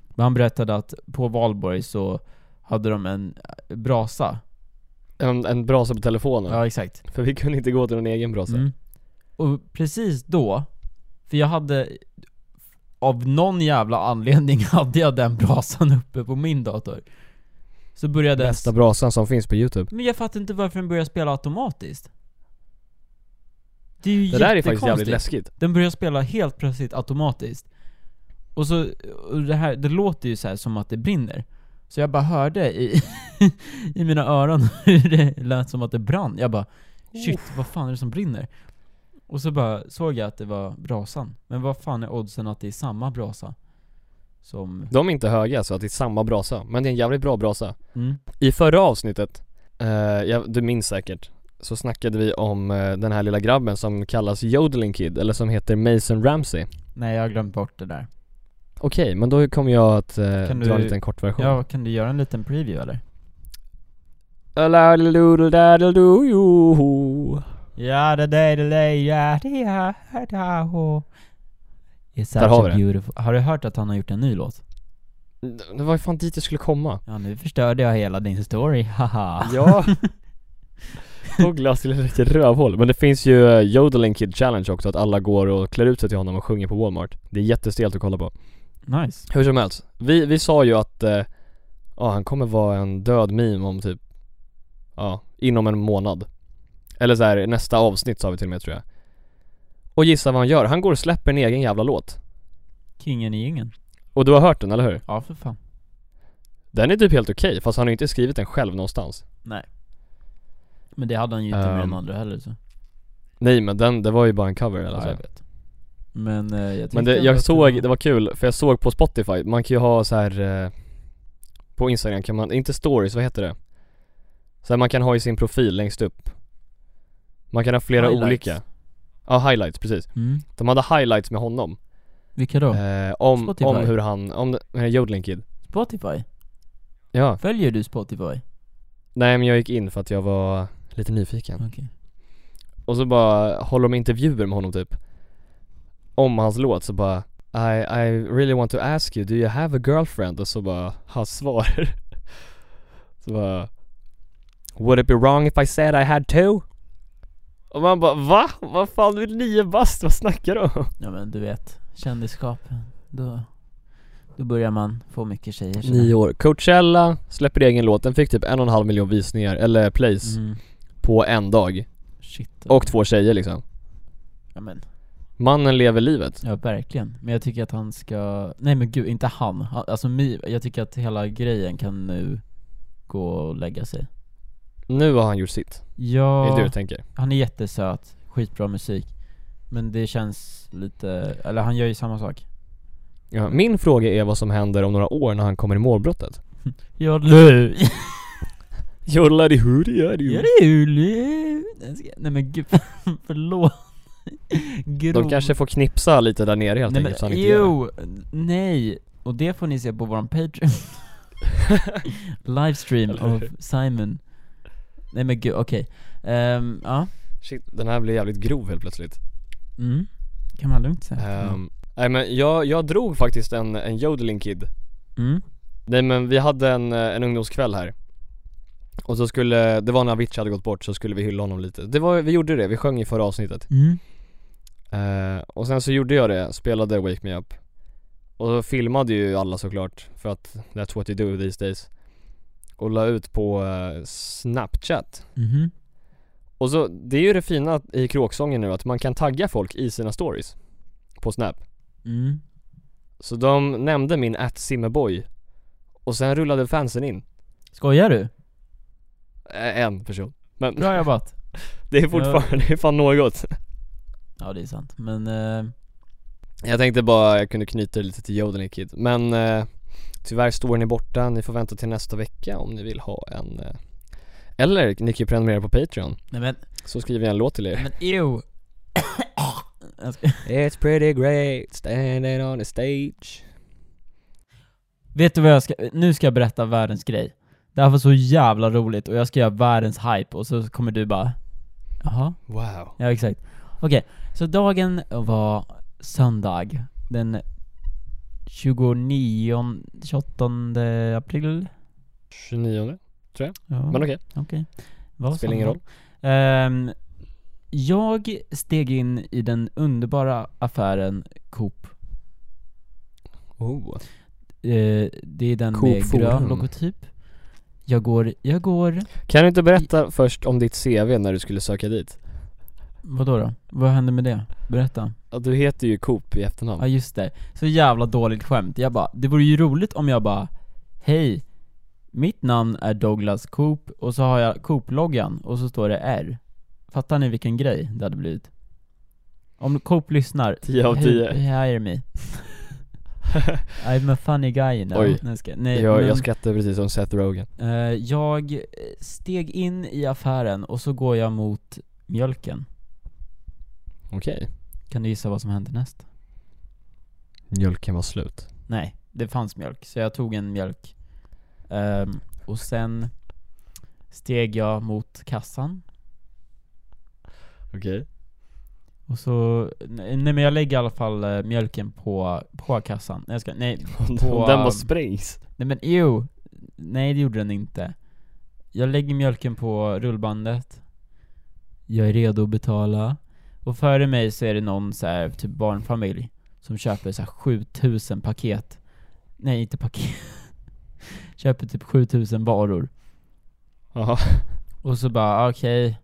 Speaker 1: men han berättade att på valborg så hade de en eh, brasa.
Speaker 2: En, en brasa på telefonen.
Speaker 1: Ja, exakt.
Speaker 2: För vi kunde inte gå till någon egen brasa.
Speaker 1: Mm. Och precis då, för jag hade, av någon jävla anledning hade jag den brasan uppe på min dator. Så började den-
Speaker 2: Bästa brasan som finns på youtube.
Speaker 1: Men jag fattar inte varför den börjar spela automatiskt. Det är ju
Speaker 2: Det där är faktiskt jävligt
Speaker 1: jättekonstigt.
Speaker 2: läskigt.
Speaker 1: Den börjar spela helt plötsligt automatiskt. Och så, och det här, det låter ju så här som att det brinner. Så jag bara hörde i, i mina öron hur det lät som att det brann. Jag bara shit, vad fan är det som brinner? Och så bara såg jag att det var brasan. Men vad fan är oddsen att det är samma brasa? Som...
Speaker 2: De är inte höga så att det är samma brasa. Men det är en jävligt bra brasa.
Speaker 1: Mm.
Speaker 2: I förra avsnittet, eh, jag, du minns säkert. Så snackade vi om eh, den här lilla grabben som kallas Yodeling Kid, eller som heter Mason Ramsey.
Speaker 1: Nej, jag har glömt bort det där.
Speaker 2: Okej, men då kommer jag att eh,
Speaker 1: Kan
Speaker 2: dra en
Speaker 1: du-
Speaker 2: liten kortversion.
Speaker 1: Ja, kan du göra en liten preview eller?
Speaker 2: Aladidoodadadadoo.
Speaker 1: Ja, det där, det där, ja, det är It's such
Speaker 2: Där har vi
Speaker 1: a
Speaker 2: det.
Speaker 1: beautiful... Har du hört att han har gjort en ny låt?
Speaker 2: Det var ju fan dit jag skulle komma
Speaker 1: Ja, nu förstörde jag hela din story, haha.
Speaker 2: Ja Douglas till ett riktigt rövhål Men det finns ju eh, Yodeling Kid Challenge också Att alla går och klär ut sig till honom och sjunger på Walmart Det är jättestelt att kolla på
Speaker 1: Nice.
Speaker 2: Hur som helst, vi, vi sa ju att eh, ja, han kommer vara en död meme om typ, ja, inom en månad. Eller så här, nästa avsnitt sa vi till och med tror jag. Och gissa vad han gör? Han går och släpper en egen jävla låt.
Speaker 1: Kingen i djungeln.
Speaker 2: Och du har hört den, eller hur?
Speaker 1: Ja för fan.
Speaker 2: Den är typ helt okej, fast han har ju inte skrivit den själv någonstans.
Speaker 1: Men det hade han ju inte med
Speaker 2: Ehm,
Speaker 1: de andra heller så.
Speaker 2: Nej men den, det var ju bara en cover eller
Speaker 1: Ja,
Speaker 2: så.
Speaker 1: jag vet. Men eh, jag tyckte
Speaker 2: Men det,
Speaker 1: ändå
Speaker 2: jag
Speaker 1: att
Speaker 2: såg, det var kul, för jag såg på Spotify, man kan ju ha så här eh, På Instagram kan man, inte stories, vad heter det? Så här, man kan ha i sin profil längst upp Man kan ha flera
Speaker 1: Highlights.
Speaker 2: olika Ja, highlights, precis.
Speaker 1: Mm.
Speaker 2: De hade highlights med honom
Speaker 1: Vilka då?
Speaker 2: eh, om,
Speaker 1: Spotify.
Speaker 2: om hur han, om den här Yodeling Kid
Speaker 1: Spotify?
Speaker 2: Ja,
Speaker 1: Följer du Spotify?
Speaker 2: nej men jag gick in för att jag var lite nyfiken
Speaker 1: Okej.
Speaker 2: Och så bara håller de intervjuer med honom typ Om hans låt så bara I, I really want to ask you, do you have a girlfriend? Och så bara hans svar Så bara Would it be wrong if I said I had two? Och man bara va? Vad fan du är nio bast, vad snackar du om?
Speaker 1: Ja men du vet, kändisskapen. Då, då börjar man få mycket tjejer känner jag.
Speaker 2: Nio år, Coachella släpper egen låt, den fick typ en och en halv miljon visningar, eller plays,
Speaker 1: Mm.
Speaker 2: på en dag
Speaker 1: Shit.
Speaker 2: Och två tjejer liksom
Speaker 1: Ja men,
Speaker 2: Mannen lever livet
Speaker 1: ja verkligen. Men jag tycker att han ska, nej men gud, inte han. han alltså My, jag tycker att hela grejen kan nu gå och lägga sig.
Speaker 2: Nu har han gjort sitt,
Speaker 1: Ja.
Speaker 2: är det du tänker?
Speaker 1: Han är jättesöt, skitbra musik Men det känns lite, eller han gör ju samma sak
Speaker 2: Ja, min fråga är vad som händer om några år när han kommer i målbrottet.
Speaker 1: Ja du!
Speaker 2: Jollar i hur det är
Speaker 1: Ja du! Nej men gud, förlåt Grov.
Speaker 2: De kanske får knipsa lite där nere helt
Speaker 1: Nej
Speaker 2: enkelt så
Speaker 1: men
Speaker 2: han inte gör det.
Speaker 1: jo, nej! Och det får ni se på våran Patreon Livestream
Speaker 2: Eller
Speaker 1: av
Speaker 2: hur?
Speaker 1: Simon Nej men gud, okej Ehm, ja,
Speaker 2: Shit, den här blir jävligt grov helt plötsligt.
Speaker 1: mm. kan man lugnt säga
Speaker 2: Ehm, nej men jag, jag drog faktiskt en, en Yodeling Kid.
Speaker 1: mm.
Speaker 2: Nej men vi hade en, eh, en ungdomskväll här. Och så skulle, det var när Avicii hade gått bort så skulle vi hylla honom lite. Det var, vi gjorde det, vi sjöng i förra avsnittet.
Speaker 1: Mm.
Speaker 2: Eh, och sen så gjorde jag det, spelade Wake Me Up Och så filmade ju alla såklart för att that's what you do these days Och la ut på eh, Snapchat
Speaker 1: Mhm.
Speaker 2: Och så, det är ju det fina i kråksången nu att man kan tagga folk i sina stories På Snap
Speaker 1: Mm.
Speaker 2: Så de nämnde min at Simmerboy Och sen rullade fansen in,
Speaker 1: Skojar du?
Speaker 2: Eh, en person Men
Speaker 1: Bra jobbat!
Speaker 2: det är fortfarande, det är fan något
Speaker 1: Ja det är sant, men eh,
Speaker 2: Jag tänkte bara jag kunde knyta det lite till Yodeling Kid Men eh, tyvärr står ni borta, ni får vänta till nästa vecka om ni vill ha en eh, Eller ni kan ju prenumerera på Patreon
Speaker 1: nej men,
Speaker 2: Så skriver jag en låt till er
Speaker 1: men ew! Jag ska-
Speaker 2: It's pretty great standing on the stage
Speaker 1: Vet du vad jag ska, nu ska jag berätta världens grej Det här var så jävla roligt och jag ska göra världens hype och så kommer du bara Jaha?
Speaker 2: Wow
Speaker 1: Ja exakt Okej, så dagen var söndag den 29, 28 april?
Speaker 2: 29
Speaker 1: Ja,
Speaker 2: men okej,
Speaker 1: okej. Vad
Speaker 2: spelar
Speaker 1: sa
Speaker 2: ingen
Speaker 1: man?
Speaker 2: roll
Speaker 1: Ehm, jag steg in i den underbara affären Coop.
Speaker 2: oh.
Speaker 1: Eh, det är den
Speaker 2: Coop
Speaker 1: med grön
Speaker 2: Forum.
Speaker 1: logotyp. Jag går, jag går,
Speaker 2: Kan du inte berätta först om ditt CV när du skulle söka dit?
Speaker 1: vadå då? Vad hände med det? Berätta.
Speaker 2: Ja, du heter ju Coop i efternamn
Speaker 1: Ja just det, så jävla dåligt skämt. Jag bara, det vore ju roligt om jag bara, hej, mitt namn är Douglas Coop och så har jag Coop-loggan och så står det R. Fattar ni vilken grej det hade blivit? Om Coop lyssnar,
Speaker 2: 10 av
Speaker 1: Hi-
Speaker 2: 10
Speaker 1: Hire me. I'm a funny guy you know.
Speaker 2: Oj.
Speaker 1: Nej, jag ska, nej,
Speaker 2: jag,
Speaker 1: men,
Speaker 2: jag skrattar precis som Seth Rogen
Speaker 1: eh, jag steg in i affären och så går jag mot mjölken.
Speaker 2: Okej,
Speaker 1: Kan du gissa vad som hände näst?
Speaker 2: mjölken var slut
Speaker 1: Nej, det fanns mjölk, så jag tog en mjölk. Ehm, och sen steg jag mot kassan.
Speaker 2: Okej
Speaker 1: Och så, nej men jag lägger i alla fall eh, mjölken på, på kassan. Nej, jag ska, nej, På,
Speaker 2: Den
Speaker 1: ehm,
Speaker 2: bara sprängs
Speaker 1: Nej men ew! Nej det gjorde den inte. Jag lägger mjölken på rullbandet. Jag är redo att betala. Och före mig så är det någon så här, typ barnfamilj. som köper så här 7000 paket. Nej, inte paket. köper typ 7000 varor.
Speaker 2: Jaha.
Speaker 1: Och så bara, ah, okej,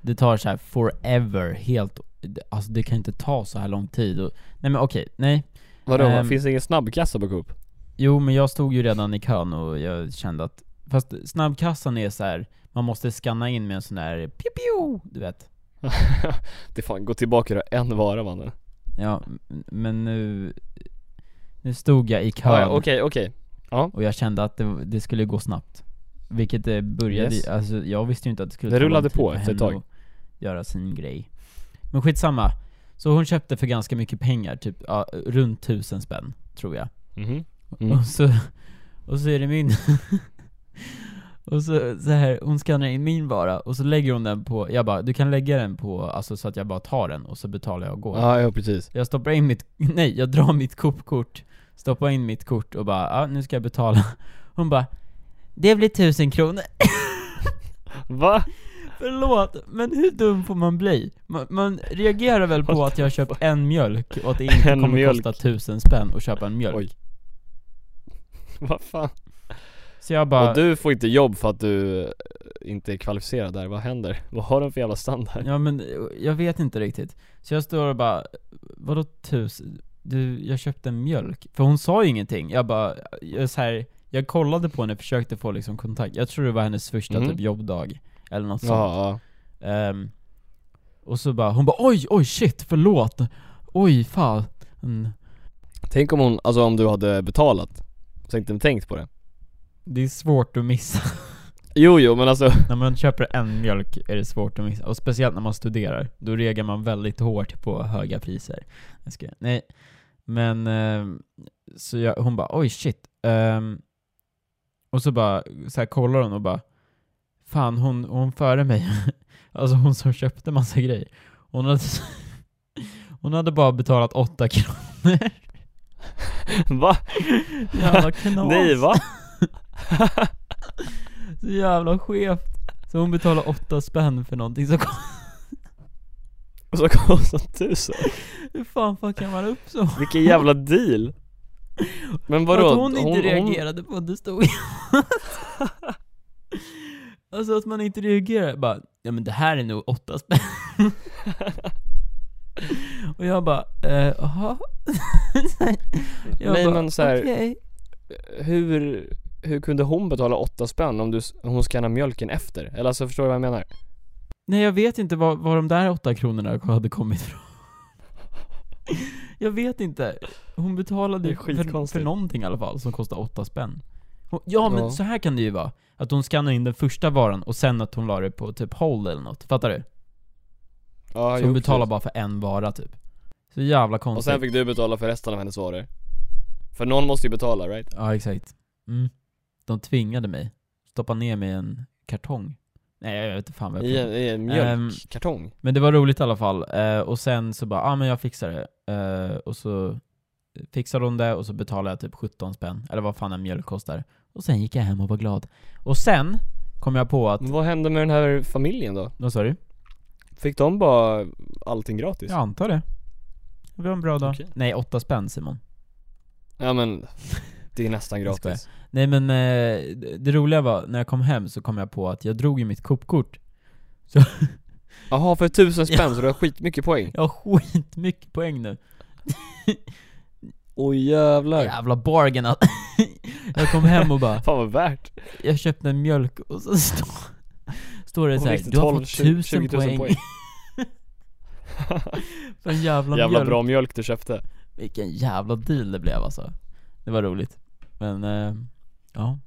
Speaker 1: det tar så här forever, helt, alltså det kan inte ta så här lång tid. Och, nej men okej, nej.
Speaker 2: Vadå,
Speaker 1: Ehm.
Speaker 2: finns det ingen snabbkassa på Coop?
Speaker 1: Jo men jag stod ju redan i kön och jag kände att, fast snabbkassan är så här man måste scanna in med en sån där pio pio, du vet.
Speaker 2: det är fan, gå tillbaka och en vara mannen
Speaker 1: Ja, m- men nu, nu stod jag i kön.
Speaker 2: ah, ja, Okej, okej
Speaker 1: Och jag kände att det, det skulle gå snabbt. Vilket det började
Speaker 2: Yes.
Speaker 1: i, alltså jag visste ju inte att det skulle
Speaker 2: Det
Speaker 1: ta lång
Speaker 2: rullade
Speaker 1: tid
Speaker 2: på
Speaker 1: för
Speaker 2: efter
Speaker 1: henne
Speaker 2: ett tag.
Speaker 1: att göra sin grej. Men skitsamma. Så hon köpte för ganska mycket pengar, typ ja, runt tusen spänn, tror jag.
Speaker 2: Mhm. Mm.
Speaker 1: Och, så, och så är det min... och så, så här, hon skannar in min vara och så lägger hon den på, jag bara du kan lägga den på, alltså så att jag bara tar den och så betalar jag och går.
Speaker 2: Ja, ja precis
Speaker 1: Jag stoppar in mitt, nej jag drar mitt Coop-kort Stoppar in mitt kort och bara, ja ah, nu ska jag betala Hon bara Det blir tusen kronor
Speaker 2: Va?
Speaker 1: Förlåt, men hur dum får man bli? Man, man reagerar väl på
Speaker 2: What
Speaker 1: att jag har köpt en mjölk och att det inte
Speaker 2: En
Speaker 1: kommer
Speaker 2: mjölk.
Speaker 1: kosta tusen spänn att köpa en mjölk
Speaker 2: Oj. Vad fan?
Speaker 1: Så jag bara,
Speaker 2: Och du får inte jobb för att du eh, inte är kvalificerad där, vad händer? Vad har de för jävla standard?
Speaker 1: ja men eh, jag vet inte riktigt Så jag står och bara, vadå tusen? Du, jag köpte en mjölk För hon sa ju ingenting, jag bara, eh, jag, så här, jag kollade på henne, försökte få liksom kontakt Jag tror det var hennes första
Speaker 2: Mm.
Speaker 1: typ jobbdag Eller något sånt
Speaker 2: Ja,
Speaker 1: Ehm, och så bara, hon bara oj, oj shit, förlåt, oj fan. Mm.
Speaker 2: ja. Tänk om hon, alltså om du hade betalat Så inte tänkt på det
Speaker 1: Det är svårt att missa.
Speaker 2: Jo, jo men alltså
Speaker 1: när man köper en mjölk är det svårt att missa. Och speciellt när man studerar. Då reagerar man väldigt hårt på höga priser. Jag ska, nej. Men, ehm, så jag, hon bara oj shit. Ehm, och så bara, så här kollar hon och bara Fan hon, hon före mig. alltså hon som köpte massa grejer. Hon hade, hon hade bara betalat 8 kronor.
Speaker 2: Va?
Speaker 1: Jävla knas.
Speaker 2: Nej va?
Speaker 1: Så jävla skevt. Så hon betalar 8 spänn för någonting så
Speaker 2: Och så kostar tusen
Speaker 1: Hur fan fuckar man upp så?
Speaker 2: Vilken jävla deal Men vadå?
Speaker 1: att hon inte reagerade på att det stod Alltså att man inte reagerar, bara ja men det här är nog åtta spänn Och jag bara, eh, jaha? Jag
Speaker 2: Nej
Speaker 1: bara,
Speaker 2: men så här,
Speaker 1: okej.
Speaker 2: hur, hur kunde hon betala åtta spänn om, du, om hon skannar mjölken efter? Eller alltså förstår du vad jag menar?
Speaker 1: Nej jag vet inte var, var de där åtta kronorna hade kommit ifrån Jag vet inte, hon betalade
Speaker 2: Det
Speaker 1: ju
Speaker 2: är
Speaker 1: för,
Speaker 2: skitkonstigt.
Speaker 1: för någonting i alla fall som kostade åtta spänn Hon- Ja men
Speaker 2: Ja.
Speaker 1: så här kan det ju vara, att hon skannade in den första varan och sen att hon la det på typ hold eller något, fattar du?
Speaker 2: Ja,
Speaker 1: så hon betalar bara för en vara typ Så jävla
Speaker 2: Och
Speaker 1: konstigt
Speaker 2: sen fick du betala för resten av hennes varor För någon måste ju betala right?
Speaker 1: Ja exakt, mm. De tvingade mig, stoppa ner mig i en kartong Nej jag vet inte fan vad jag
Speaker 2: I en, i en mjölkkartong
Speaker 1: Men det var roligt i alla fall, eh, och sen så bara ah, men jag fixar det. Eh, och så fixade hon det och så betalade jag typ 17 spänn, eller vad fan en mjölk kostar. Och sen gick jag hem och var glad. Och sen kom jag på att,
Speaker 2: Men Vad hände med den här familjen då?
Speaker 1: vad sa du?
Speaker 2: Fick de bara allting gratis?
Speaker 1: Jag antar det. Det var en bra dag.
Speaker 2: Okej.
Speaker 1: Nej, 8 spänn Simon.
Speaker 2: Ja, men det är nästan
Speaker 1: Jag skojar.
Speaker 2: gratis
Speaker 1: Nej men eh, det- det roliga var, när jag kom hem så kom jag på att jag drog ju mitt Coop-kort.
Speaker 2: Jaha, för tusen spänn så du har skitmycket poäng?
Speaker 1: Jag har skitmycket poäng nu.
Speaker 2: Oj jävlar
Speaker 1: Jävla bargain att- Jag kom hem och bara
Speaker 2: Fan vad värt!
Speaker 1: jag köpte en mjölk och så står står det
Speaker 2: Och
Speaker 1: så här,
Speaker 2: fick du
Speaker 1: du har
Speaker 2: 12,
Speaker 1: fått
Speaker 2: 20 000
Speaker 1: tusen poäng,
Speaker 2: poäng.
Speaker 1: för en jävla,
Speaker 2: Jävla
Speaker 1: mjölk.
Speaker 2: bra mjölk du köpte
Speaker 1: Vilken jävla deal det blev alltså. Det var roligt. Men, eh, ja.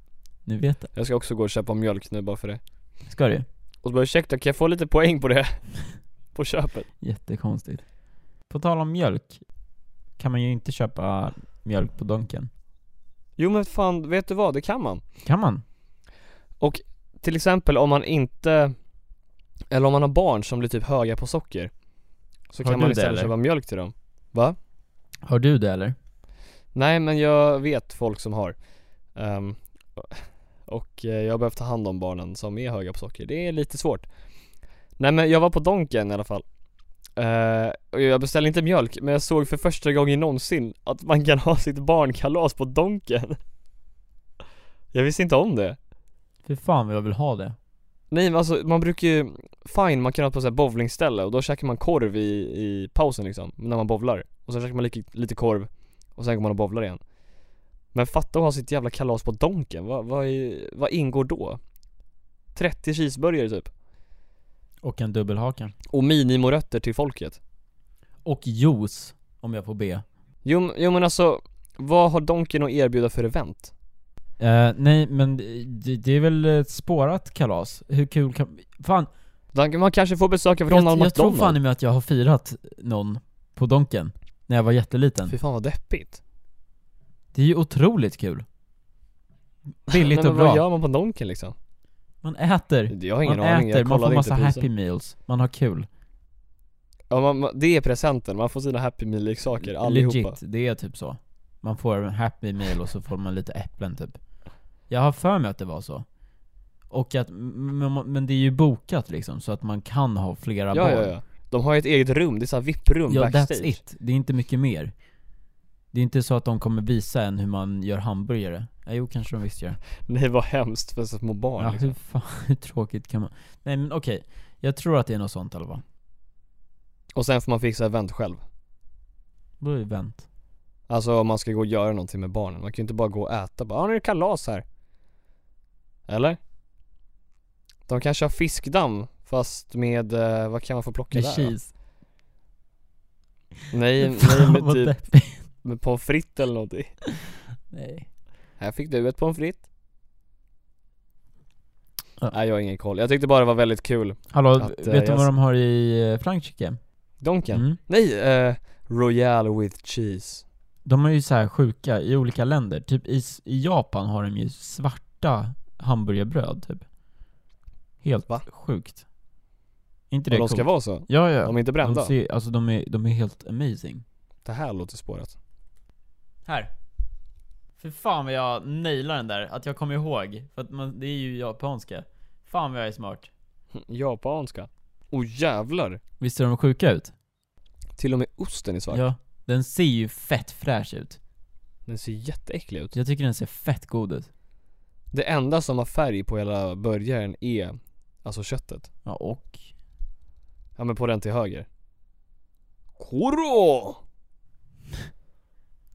Speaker 1: Nu vet jag.
Speaker 2: Jag ska också gå och köpa mjölk nu bara för det
Speaker 1: Ska du?
Speaker 2: Och så bara ursäkta, kan jag få lite poäng på det? på köpet?
Speaker 1: Jättekonstigt. På tal om mjölk, kan man ju inte köpa mjölk på Donken.
Speaker 2: Jo men fan, vet du vad? Det kan man
Speaker 1: Kan man?
Speaker 2: Till exempel om man inte Eller om man har barn som blir typ höga på socker Så
Speaker 1: Har
Speaker 2: kan
Speaker 1: du
Speaker 2: man
Speaker 1: det,
Speaker 2: istället
Speaker 1: eller?
Speaker 2: köpa mjölk till dem Va?
Speaker 1: Har du det eller?
Speaker 2: Nej men jag vet folk som har Ehm, Och eh, jag har behövt ta hand om barnen som är höga på socker, det är lite svårt Nej men jag var på Donken i alla fall Eh, och jag beställde inte mjölk, men jag såg för första gången någonsin att man kan ha sitt barnkalas på Donken. Jag visste inte om det.
Speaker 1: För fan vad jag vill ha det.
Speaker 2: Nej men alltså man brukar ju, fine man kan ha på så här bowlingställe och då käkar man korv i, i pausen liksom, när man bowlar Och sen käkar man lite, lite korv och sen går man och bowlar igen Men fatta att ha sitt jävla kalas på Donken, vad, vad, är- vad ingår då? 30 cheeseburgare typ,
Speaker 1: Och en dubbelhaka.
Speaker 2: och minimorötter till folket
Speaker 1: Och juice, om jag får be.
Speaker 2: Jo, m- jo men alltså, vad har Donken att erbjuda för event?
Speaker 1: Eh, nej men det, det är väl ett spårat kalas. Hur kul kan... Fan,
Speaker 2: Donken- Man kanske får besöka
Speaker 1: jag,
Speaker 2: Ronald
Speaker 1: jag tror
Speaker 2: McDonald?
Speaker 1: fan i mig att jag har firat någon på Donken. När jag var jätteliten.
Speaker 2: Fy fan vad deppigt
Speaker 1: Det är ju otroligt kul. Billigt
Speaker 2: Nej,
Speaker 1: och
Speaker 2: men vad
Speaker 1: bra.
Speaker 2: gör man på Donken liksom?
Speaker 1: Man äter.
Speaker 2: Jag har ingen
Speaker 1: man
Speaker 2: aning,
Speaker 1: äter,
Speaker 2: jag
Speaker 1: man får
Speaker 2: kollade
Speaker 1: massa
Speaker 2: inte priserna.
Speaker 1: happy meals, man har kul.
Speaker 2: Ja, man, man, det är presenten, man får sina happy meal-leksaker allihopa
Speaker 1: Legit, det är typ så. Man får en happy meal och så får man lite äpplen typ. Jag har för mig att det var så. Och att, men, men det är ju bokat liksom, så att man kan ha flera
Speaker 2: Ja,
Speaker 1: barn.
Speaker 2: ja, ja De har ju ett eget rum, det är såhär VIP-rum
Speaker 1: Ja,
Speaker 2: backstage
Speaker 1: that's it. Det är inte mycket mer. Det är inte så att de kommer visa en hur man gör hamburgare. Ja, jo, kanske de visst gör.
Speaker 2: Nej vad hemskt för så små barn
Speaker 1: Ja, hur
Speaker 2: liksom.
Speaker 1: fan, hur tråkigt kan man... Nej men okej, jag tror att det är något sånt i alla fall.
Speaker 2: Och sen får man fixa event själv
Speaker 1: Då är det vänt.
Speaker 2: Alltså om man ska gå och göra någonting med barnen, man kan ju inte bara gå och äta bara ah, nu är det kalas här Eller? De kanske har fiskdamm fast med, eh, vad kan man få plocka
Speaker 1: Med
Speaker 2: där då?
Speaker 1: cheese.
Speaker 2: Nej, nej
Speaker 1: Fan
Speaker 2: med
Speaker 1: vad
Speaker 2: typ,
Speaker 1: deppigt.
Speaker 2: med pommes frites eller någonting
Speaker 1: Nej.
Speaker 2: Här fick du ett pommes frites
Speaker 1: Ja.
Speaker 2: Nej jag har ingen koll, jag tyckte bara det var väldigt kul
Speaker 1: Hallå,
Speaker 2: Att, eh,
Speaker 1: vet du
Speaker 2: jag-
Speaker 1: vad de har i eh, Frankrike?
Speaker 2: Donken?
Speaker 1: Mm.
Speaker 2: Nej, eh, Royale with cheese
Speaker 1: De är ju så här sjuka i olika länder. Typ i, s- i Japan har de ju svarta hamburgerbröd typ. Helt
Speaker 2: Va?
Speaker 1: sjukt. Inte
Speaker 2: Och
Speaker 1: det
Speaker 2: de ska
Speaker 1: coolt?
Speaker 2: vara så?
Speaker 1: Ja, ja.
Speaker 2: De är inte
Speaker 1: de
Speaker 2: brända?
Speaker 1: ser, alltså de är, de är helt amazing.
Speaker 2: Det här låter spårat
Speaker 1: Här. För fan vad jag nailar den där, att jag kommer ihåg. För att man, det är ju japanska. Fan vad jag är smart.
Speaker 2: Hm, Japanska Oh jävlar!
Speaker 1: Visst ser de sjuka ut?
Speaker 2: Till och med osten är svart
Speaker 1: Ja. Den ser ju fett fräsch ut.
Speaker 2: Den ser jätteäcklig ut
Speaker 1: Jag tycker den ser fett god ut.
Speaker 2: Det enda som har färg på hela burgaren är Alltså köttet
Speaker 1: Ja, och?
Speaker 2: Ja men på den till höger Koro!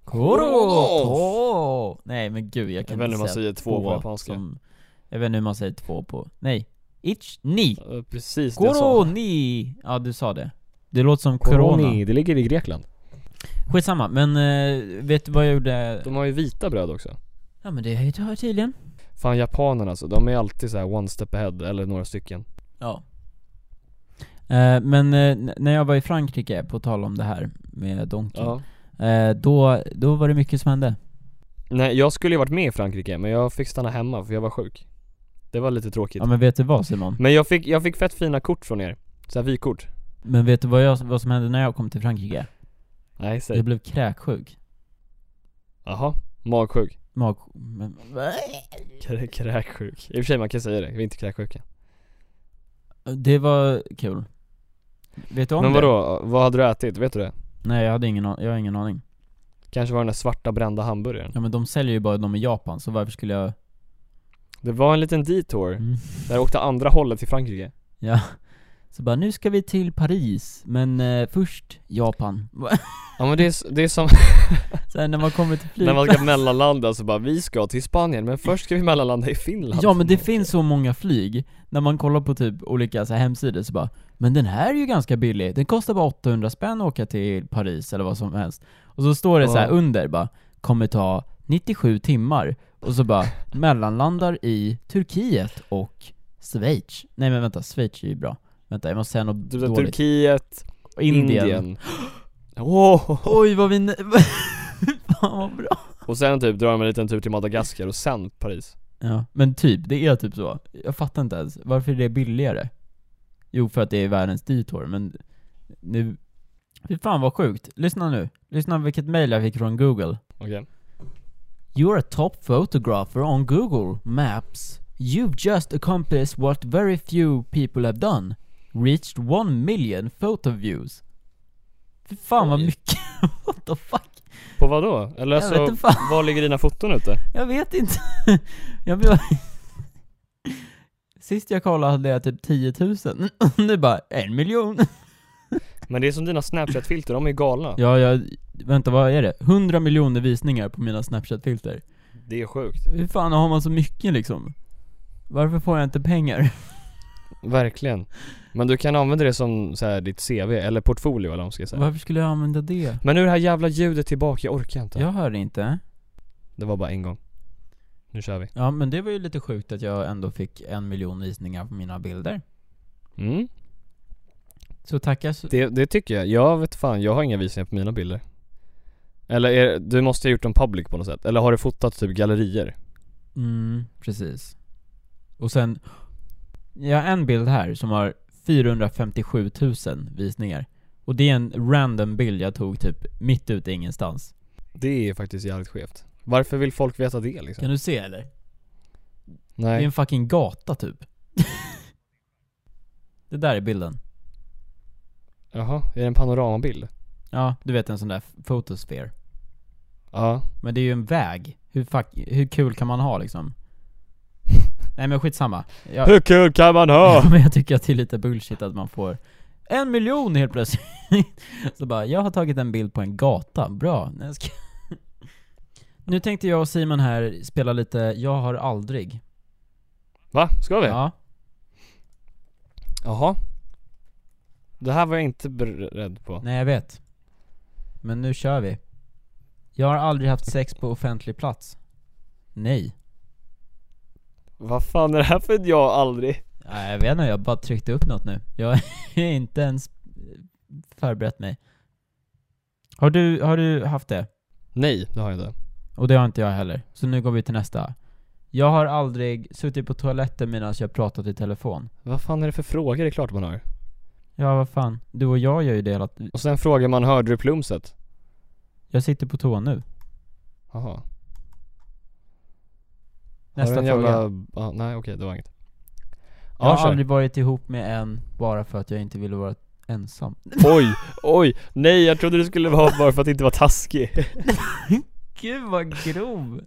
Speaker 1: Koro! Nej men gud, jag
Speaker 2: Jag
Speaker 1: kan
Speaker 2: vet inte hur man
Speaker 1: inte säga
Speaker 2: säger två på japanska
Speaker 1: som, Jag vet inte hur man säger två på... Nej. Ich ni.
Speaker 2: Ja, Precis det jag sa
Speaker 1: Koro ni. Ja, du sa det. Det låter som corona.
Speaker 2: Koroni, det ligger i Grekland
Speaker 1: Skitsamma, men eh, vet du vad jag gjorde?
Speaker 2: De har ju vita bröd också
Speaker 1: Ja men det har jag tydligen.
Speaker 2: Fan japanerna alltså, de är alltid så här one step ahead eller några stycken
Speaker 1: Ja. Eh, men eh, n- när jag var i Frankrike, på tal om det här med Donken,
Speaker 2: Ja
Speaker 1: eh, då, då var det mycket som hände.
Speaker 2: Nej jag skulle ju varit med i Frankrike men jag fick stanna hemma för jag var sjuk Det var lite tråkigt
Speaker 1: Ja men vet du vad Simon?
Speaker 2: Men jag fick, jag fick fett fina kort från er Såhär vykort
Speaker 1: Men vet du vad, jag, vad som hände när jag kom till Frankrike?
Speaker 2: Nej
Speaker 1: Jag
Speaker 2: säg
Speaker 1: blev kräksjuk.
Speaker 2: Jaha, magsjuk
Speaker 1: Mag... Men,
Speaker 2: Krä- Kräksjuk I och för sig man kan säga det, vi är inte kräksjuka
Speaker 1: det var kul. Vet du om
Speaker 2: Men
Speaker 1: det?
Speaker 2: vadå, vad hade du ätit? Vet du det?
Speaker 1: Nej jag hade ingen aning, jag har ingen aning.
Speaker 2: Kanske var den där svarta brända hamburgaren
Speaker 1: Ja men de säljer ju bara dem i Japan, så varför skulle jag...
Speaker 2: Det var en liten detour
Speaker 1: Mm.
Speaker 2: Där jag åkte andra hållet till Frankrike
Speaker 1: Ja. Så bara, nu ska vi till Paris, men eh, först Japan.
Speaker 2: Ja men det är, s- det är som
Speaker 1: Sen när man kommer till
Speaker 2: när
Speaker 1: flygplatsen
Speaker 2: man ska mellanlanda så bara vi ska till Spanien men först ska vi mellanlanda i Finland Typ
Speaker 1: Ja men det finns så många flyg, när man kollar på typ olika så här hemsidor så bara Men den här är ju ganska billig, den kostar bara 800 spänn att åka till Paris eller vad som helst Och så står det så här
Speaker 2: Ja.
Speaker 1: under bara, kommer ta 97 timmar Och så bara, mellanlandar i Turkiet och Schweiz Nej men vänta, Schweiz är ju bra Vänta jag måste säga något
Speaker 2: Du vet,
Speaker 1: dåligt
Speaker 2: Turkiet,
Speaker 1: Indien.
Speaker 2: Indien Åh!
Speaker 1: Oj vad vi... Fan vad bra
Speaker 2: Och sen typ drar de en liten tur till Madagaskar och sen Paris
Speaker 1: Ja, men typ, det är typ så. Jag fattar inte ens, varför är det billigare? Jo, för att det är världens detour, men nu... Fy fan vad sjukt. Lyssna nu. Lyssna vilket mail jag fick från Google.
Speaker 2: Okej
Speaker 1: You're a top photographer on Google Maps. You've just accomplished what very few people have done. Reached one million photo views. Fy fan vad
Speaker 2: Oj.
Speaker 1: mycket, what the fuck?
Speaker 2: På vad då? Eller
Speaker 1: Jag vet
Speaker 2: alltså,
Speaker 1: inte fan.
Speaker 2: var ligger dina foton ute?
Speaker 1: Jag vet inte. Jag blev... Sist jag kollade hade jag typ 10 000. Nu bara en miljon.
Speaker 2: Men det är som dina snapchat-filter, de är ju galna
Speaker 1: Ja, jag... Vänta, vad är det? 100 miljoner visningar på mina Snapchat-filter.
Speaker 2: Det är sjukt
Speaker 1: Hur fan har man så mycket liksom? Varför får jag inte pengar?
Speaker 2: Verkligen Men du kan använda det som så här, ditt CV, eller portfolio eller vad man ska säga
Speaker 1: Varför skulle jag använda det?
Speaker 2: Men nu är det här jävla ljudet tillbaka, jag orkar inte
Speaker 1: Jag hör inte.
Speaker 2: Det var bara en gång Nu kör vi
Speaker 1: Ja, men det var ju lite sjukt att jag ändå fick en miljon visningar på mina bilder.
Speaker 2: mm.
Speaker 1: Så tackar så...
Speaker 2: det, det tycker jag, jag vet fan, jag har inga visningar på mina bilder Eller är, du måste ha gjort dem public på något sätt, eller har du fotat typ gallerier?
Speaker 1: Mm, precis. Och sen, jag har en bild här som har 457 000 visningar. Och det är en random bild jag tog typ mitt ute i ingenstans.
Speaker 2: Det är faktiskt jävligt skevt Varför vill folk veta det liksom?
Speaker 1: Kan du se eller? Det är
Speaker 2: Nej,
Speaker 1: en fucking gata typ. det där är bilden.
Speaker 2: jaha, är det en panoramabild?
Speaker 1: Ja, du vet en sån där fotosphere.
Speaker 2: Ja
Speaker 1: Men det är ju en väg. Hur, fuck, hur kul kan man ha liksom? Nej men skitsamma. Jag,
Speaker 2: Hur kul kan man ha?
Speaker 1: men jag tycker att det är lite bullshit att man får en miljon helt plötsligt. Så bara, jag har tagit en bild på en gata, bra. Nej, jag ska... Nu tänkte jag och Simon här spela lite Jag har aldrig.
Speaker 2: Va? Ska vi?
Speaker 1: Ja.
Speaker 2: Jaha Det här var jag inte beredd på
Speaker 1: Nej jag vet. Men nu kör vi. Jag har aldrig haft sex på offentlig plats. Nej.
Speaker 2: Vad fan är det här för ett jag aldrig?
Speaker 1: Nej, Jag vet inte, jag bara tryckte upp något nu. Jag har inte ens förberett mig. Har du, har du haft det?
Speaker 2: Nej, det har jag inte
Speaker 1: Och det har inte jag heller. Så nu går vi till nästa. Jag har aldrig suttit på toaletten medan jag pratat i telefon.
Speaker 2: Vad fan är det för frågor? Det är klart man har
Speaker 1: Ja, vad fan. Du och jag gör ju det hela t-
Speaker 2: Och sen frågar man, hörde du plumset?
Speaker 1: Jag sitter på toa nu.
Speaker 2: Jaha
Speaker 1: Nästa
Speaker 2: har
Speaker 1: fråga.
Speaker 2: du en jävla... Ja, nej okej, det var inget
Speaker 1: Jag
Speaker 2: Ja,
Speaker 1: har
Speaker 2: kör.
Speaker 1: aldrig varit ihop med en bara för att jag inte ville vara ensam.
Speaker 2: Oj, oj, nej jag trodde du skulle vara bara för att inte vara taskig
Speaker 1: Gud vad grov!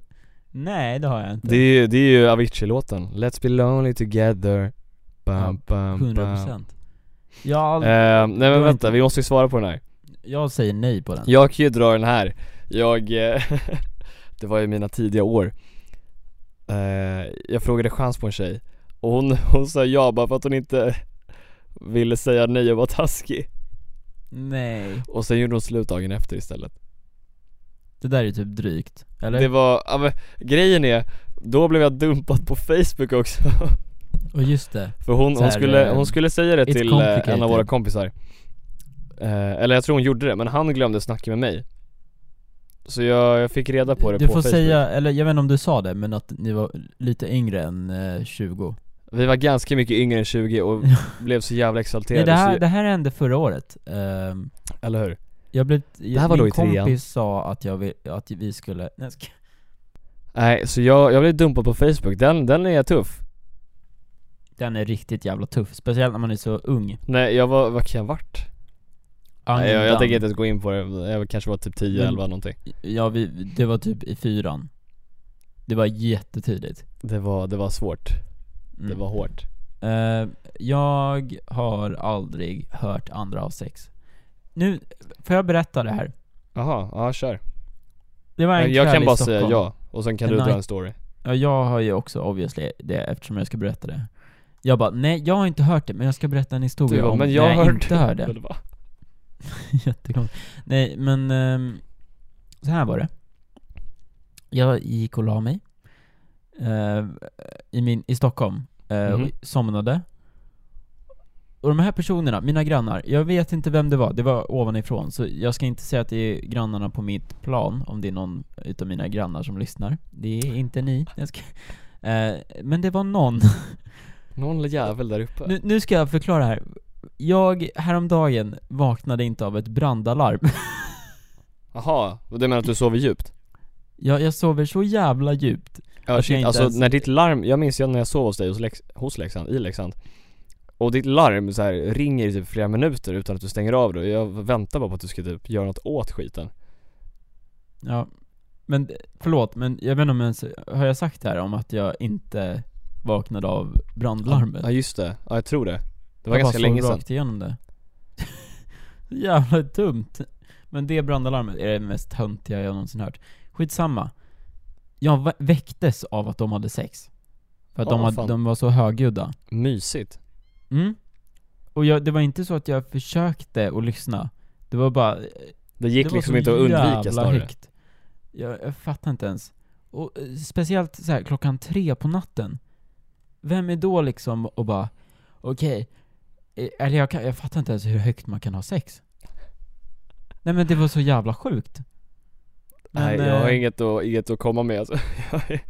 Speaker 1: Nej, det har jag inte.
Speaker 2: Det är ju, det är ju Avicii-låten Let's be lonely together Bam, bam,
Speaker 1: 100%.
Speaker 2: bam
Speaker 1: Jag, har aldrig...
Speaker 2: Eh, nej men
Speaker 1: var
Speaker 2: vänta,
Speaker 1: inte-
Speaker 2: vi måste ju svara på den här
Speaker 1: jag säger nej på den.
Speaker 2: Jag kan ju dra den här. Jag, eh, det var ju mina tidiga år Eh, Jag frågade chans på en tjej och hon, hon sa ja bara för att hon inte ville säga nej och vara taskig
Speaker 1: Nej.
Speaker 2: Och sen gjorde hon slut dagen efter istället
Speaker 1: Det där är ju typ drygt. Eller?
Speaker 2: Det var, ja, men, grejen är, då blev jag dumpad på Facebook också
Speaker 1: Och just det.
Speaker 2: För hon,
Speaker 1: Så här,
Speaker 2: hon, skulle,
Speaker 1: eh,
Speaker 2: hon skulle säga det
Speaker 1: it's
Speaker 2: till eh, en
Speaker 1: complicated.
Speaker 2: av våra kompisar Eh, Eller jag tror hon gjorde det, men han glömde snacka med mig Så jag, jag fick reda på det
Speaker 1: Du
Speaker 2: på
Speaker 1: får
Speaker 2: Facebook
Speaker 1: säga, eller jag vet inte om du sa det, men att ni var lite yngre än eh, 20.
Speaker 2: Vi var ganska mycket yngre än 20 och blev så jävla exalterade
Speaker 1: Nej, det, här,
Speaker 2: så,
Speaker 1: det här hände förra året. Ehm,
Speaker 2: Eller hur?
Speaker 1: jag blev,
Speaker 2: här var
Speaker 1: min
Speaker 2: då i trean.
Speaker 1: kompis sa att, jag vill, att vi skulle, nej, jag ska-
Speaker 2: Nej, så jag, jag blev dumpad på Facebook, den, den är tuff
Speaker 1: den är riktigt jävla tuff, speciellt när man är så ung.
Speaker 2: Nej jag var, vad kan jag ha varit? Nej, jag, jag tänker inte ens gå in på det, jag kanske var typ 10,
Speaker 1: Men-
Speaker 2: 11 någonting
Speaker 1: Ja, vi, det var typ i fyran. Det var jättetidigt.
Speaker 2: Det var, det var svårt,
Speaker 1: Mm.
Speaker 2: det var hårt
Speaker 1: Eh, jag har aldrig hört andra ha sex. Nu, får jag berätta det här?
Speaker 2: Jaha, ja kör
Speaker 1: Det var en
Speaker 2: Men Jag
Speaker 1: kväll
Speaker 2: kan
Speaker 1: i
Speaker 2: bara
Speaker 1: Stockholm.
Speaker 2: säga ja, och sen kan
Speaker 1: En
Speaker 2: du dra
Speaker 1: night-
Speaker 2: en story
Speaker 1: Ja, jag har ju också obviously det eftersom jag ska berätta det. Jag bara, nej jag har inte hört det, men jag ska berätta en historia
Speaker 2: Du bara,
Speaker 1: om
Speaker 2: men jag
Speaker 1: när
Speaker 2: har
Speaker 1: jag
Speaker 2: hört
Speaker 1: inte hör det.
Speaker 2: Eller va?
Speaker 1: Jättekonstigt. Nej men, ehm, så här var det. Jag gick och la mig. eh, i, min, I Stockholm. eh,
Speaker 2: Mhm.
Speaker 1: och somnade. Och de här personerna, mina grannar, jag vet inte vem det var, det var ovanifrån. Så jag ska inte säga att det är grannarna på mitt plan, om det är någon utav mina grannar som lyssnar. Det är inte ni. Jag ska, eh, men det var någon
Speaker 2: Någon jävel där uppe
Speaker 1: nu, nu ska jag förklara här. Jag, häromdagen, vaknade inte av ett brandalarm.
Speaker 2: Jaha, och det menar att du sover djupt?
Speaker 1: Jag, jag sover så jävla djupt.
Speaker 2: Ja
Speaker 1: Jag kan
Speaker 2: shit,
Speaker 1: inte
Speaker 2: alltså
Speaker 1: ens-
Speaker 2: när ditt larm, jag minns ju när jag sov hos dig hos, Lex, hos Leksand, i Leksand Och ditt larm så här ringer i typ flera minuter utan att du stänger av det. Jag väntar bara på att du ska typ göra något åt skiten.
Speaker 1: Ja, men förlåt, men jag vet inte om jag ens, har jag sagt det här om att jag inte vaknade av brandlarmet?
Speaker 2: Ja just det, ja jag tror det. Det var
Speaker 1: jag
Speaker 2: ganska
Speaker 1: bara såg
Speaker 2: länge sedan.
Speaker 1: rakt igenom det. Så Jävla dumt. Men det brandalarmet är det mest töntiga jag någonsin hört. Skitsamma. Jag va- väcktes av att de hade sex. För att
Speaker 2: Åh,
Speaker 1: de,
Speaker 2: vad
Speaker 1: hade,
Speaker 2: fan.
Speaker 1: de var så högljudda.
Speaker 2: Mysigt.
Speaker 1: Mm. Och jag, det var inte så att jag försökte att lyssna. Det var bara,
Speaker 2: Det gick
Speaker 1: det var
Speaker 2: liksom
Speaker 1: så
Speaker 2: inte att undvika
Speaker 1: jävla
Speaker 2: snarare.
Speaker 1: högt. Jag, jag fattar inte ens. Och eh, speciellt så här, klockan tre på natten. Vem är då liksom och bara, okej, eh, eller jag, kan, jag fattar inte ens hur högt man kan ha sex. Nej men det var så jävla sjukt. Men,
Speaker 2: Nej jag har
Speaker 1: eh,
Speaker 2: inget att, inget att komma med alltså. Jag är-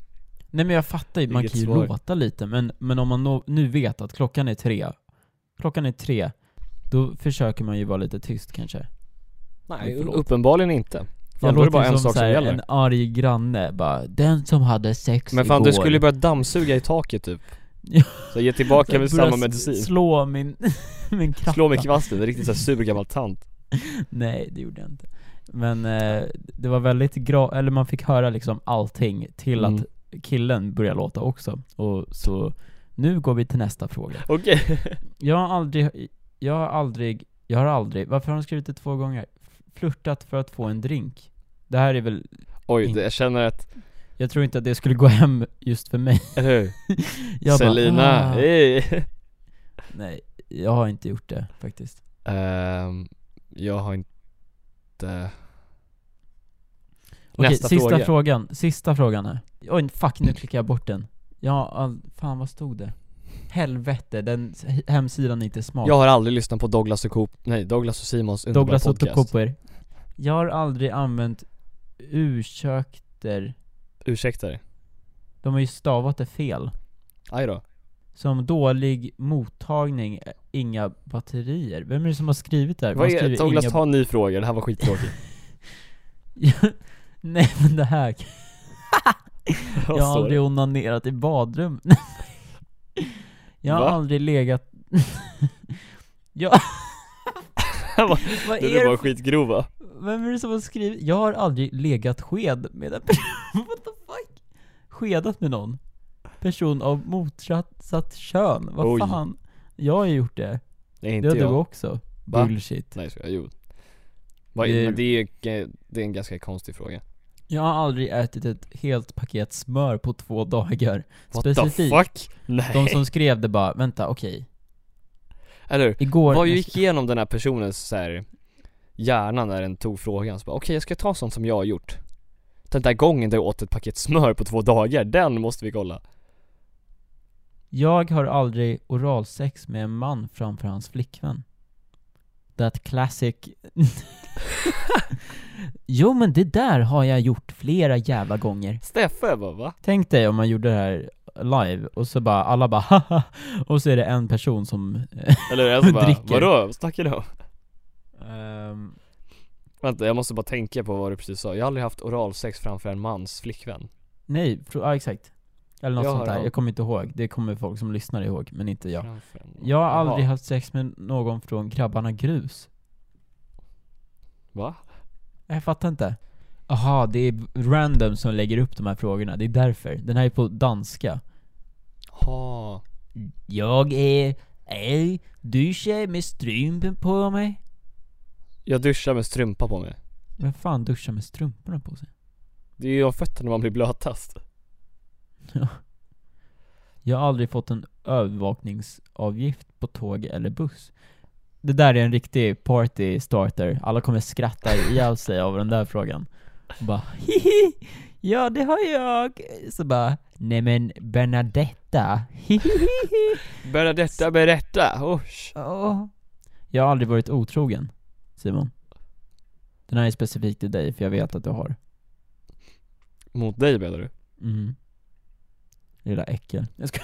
Speaker 1: Nej men jag fattar ju, man
Speaker 2: Inget
Speaker 1: kan ju
Speaker 2: svar.
Speaker 1: låta lite men, men om man nå- nu vet att klockan är tre, klockan är tre, då försöker man ju vara lite tyst kanske.
Speaker 2: Nej
Speaker 1: förlåt.
Speaker 2: uppenbarligen inte.
Speaker 1: Jag
Speaker 2: Fan, då är det bara
Speaker 1: ju
Speaker 2: en sak
Speaker 1: så
Speaker 2: som
Speaker 1: här
Speaker 2: gäller.
Speaker 1: en arg granne bara, den som hade sex
Speaker 2: Men fan
Speaker 1: igår.
Speaker 2: du skulle ju börja dammsuga i taket typ.
Speaker 1: Ja.
Speaker 2: Så ge tillbaka med
Speaker 1: Börja
Speaker 2: samma
Speaker 1: s-
Speaker 2: medicin.
Speaker 1: Slå min, min kratta.
Speaker 2: Slå med kvasten, en riktigt såhär sur gammal tant.
Speaker 1: Nej det gjorde jag inte. Men eh, det var väldigt gra- eller man fick höra liksom allting till
Speaker 2: Mm.
Speaker 1: att killen började låta också. Och så, nu går vi till nästa fråga.
Speaker 2: Okej.
Speaker 1: Jag har aldrig, jag har aldrig, jag har aldrig, varför har de skrivit det två gånger? Flörtat för att få en drink. Det här är väl,
Speaker 2: Oj, det- jag känner att,
Speaker 1: jag tror inte att det skulle gå hem just för mig.
Speaker 2: eller hur?
Speaker 1: Jag bara,
Speaker 2: Selina,
Speaker 1: "Ah."
Speaker 2: hej!
Speaker 1: Nej, jag har inte gjort det faktiskt.
Speaker 2: Ehm, jag har inte...
Speaker 1: Okej,
Speaker 2: Nästa
Speaker 1: sista
Speaker 2: fråga.
Speaker 1: frågan, sista frågan här. Oj, fuck nu klickar jag bort den. Ja, all, fan vad stod det? Helvete, den s- hemsidan är inte smart.
Speaker 2: Jag har aldrig lyssnat på Douglas och Coop, nej Douglas och Simons underbara
Speaker 1: Douglas och
Speaker 2: podcast.
Speaker 1: Tokoper. Jag har aldrig använt ursäkter,
Speaker 2: Ursäkta dig.
Speaker 1: de har ju stavat det fel.
Speaker 2: Aj då.
Speaker 1: Som dålig mottagning, eh, inga batterier. Vem är det som har skrivit det här? Man
Speaker 2: Vad är,
Speaker 1: skriver
Speaker 2: Douglas
Speaker 1: inga-
Speaker 2: ta en ny fråga, det här var skittråkigt.
Speaker 1: Nej men det här, jag har
Speaker 2: Vad står det?
Speaker 1: aldrig onanerat i badrum. jag har
Speaker 2: Va?
Speaker 1: aldrig legat... jag...
Speaker 2: Vad-
Speaker 1: Vad
Speaker 2: Det blir
Speaker 1: är
Speaker 2: bara
Speaker 1: det?
Speaker 2: skitgrova.
Speaker 1: Vem är det som har skrivit? Jag har aldrig legat sked med en person. What the fuck? Skedat med någon? Person av motsatt kön? Vad
Speaker 2: Oj.
Speaker 1: fan? Jag har ju gjort det.
Speaker 2: Nej
Speaker 1: Det
Speaker 2: inte
Speaker 1: har du
Speaker 2: jag.
Speaker 1: också.
Speaker 2: Va?
Speaker 1: Bullshit.
Speaker 2: Nej så jag, jo. Vad
Speaker 1: Det
Speaker 2: är,
Speaker 1: är-
Speaker 2: men det är, ju- det är en ganska konstig fråga.
Speaker 1: Jag har aldrig ätit ett helt paket smör på två dagar.
Speaker 2: What the
Speaker 1: Specifikt.
Speaker 2: fuck? Nej.
Speaker 1: De som skrev det bara, vänta, okej.
Speaker 2: Eller hur?
Speaker 1: Igår...
Speaker 2: Vad gick igenom den här personens så här hjärna när den tog frågan? Så bara, Okej jag ska ta sånt som jag har gjort. Den där gången där jag åt ett paket smör på två dagar, den måste vi kolla.
Speaker 1: Jag har aldrig oralsex med en man framför hans flickvän. That classic... jo men det där har jag gjort flera jävla gånger.
Speaker 2: Steffe jag bara va?
Speaker 1: Tänk dig om man gjorde det här live och så bara alla bara haha och så är det en person som...
Speaker 2: Eller jag så bara,
Speaker 1: Dricker.
Speaker 2: vadå? Vad snackar du om?
Speaker 1: Ehm,
Speaker 2: Vänta jag måste bara tänka på vad du precis sa. Jag har aldrig haft oralsex framför en mans flickvän.
Speaker 1: nej, fr- ja exakt. Eller något
Speaker 2: Jag
Speaker 1: sånt
Speaker 2: har
Speaker 1: där,
Speaker 2: al-
Speaker 1: jag kommer inte ihåg. Det kommer folk som lyssnar ihåg, men inte jag.
Speaker 2: Framför en man.
Speaker 1: Jag har aldrig
Speaker 2: Jaha.
Speaker 1: haft sex med någon från Grabbarna Grus.
Speaker 2: Va?
Speaker 1: Jag fattar inte. Aha, det är random som lägger upp de här frågorna. Det är därför. Den här är på danska.
Speaker 2: Ha.
Speaker 1: Jag är... Ej, du tjej med strumpen på mig.
Speaker 2: Jag duschar med strumpa på mig.
Speaker 1: Vem fan duschar med strumporna på sig?
Speaker 2: Det är ju av fötterna man blir blötast.
Speaker 1: Jag har aldrig fått en övervakningsavgift på tåg eller buss. Det där är en riktig party starter. Alla kommer skratta ihjäl sig av den där frågan. Och bara hihi, ja det har jag. Så bara, nej men Bernadetta, hihihi.
Speaker 2: Berätta, berätta! Usch.
Speaker 1: Ja. Jag har aldrig varit otrogen, Simon. Den här är specifik till dig, för jag vet att du har.
Speaker 2: Mot dig menar du?
Speaker 1: Mm. Lilla äckel. Jag ska...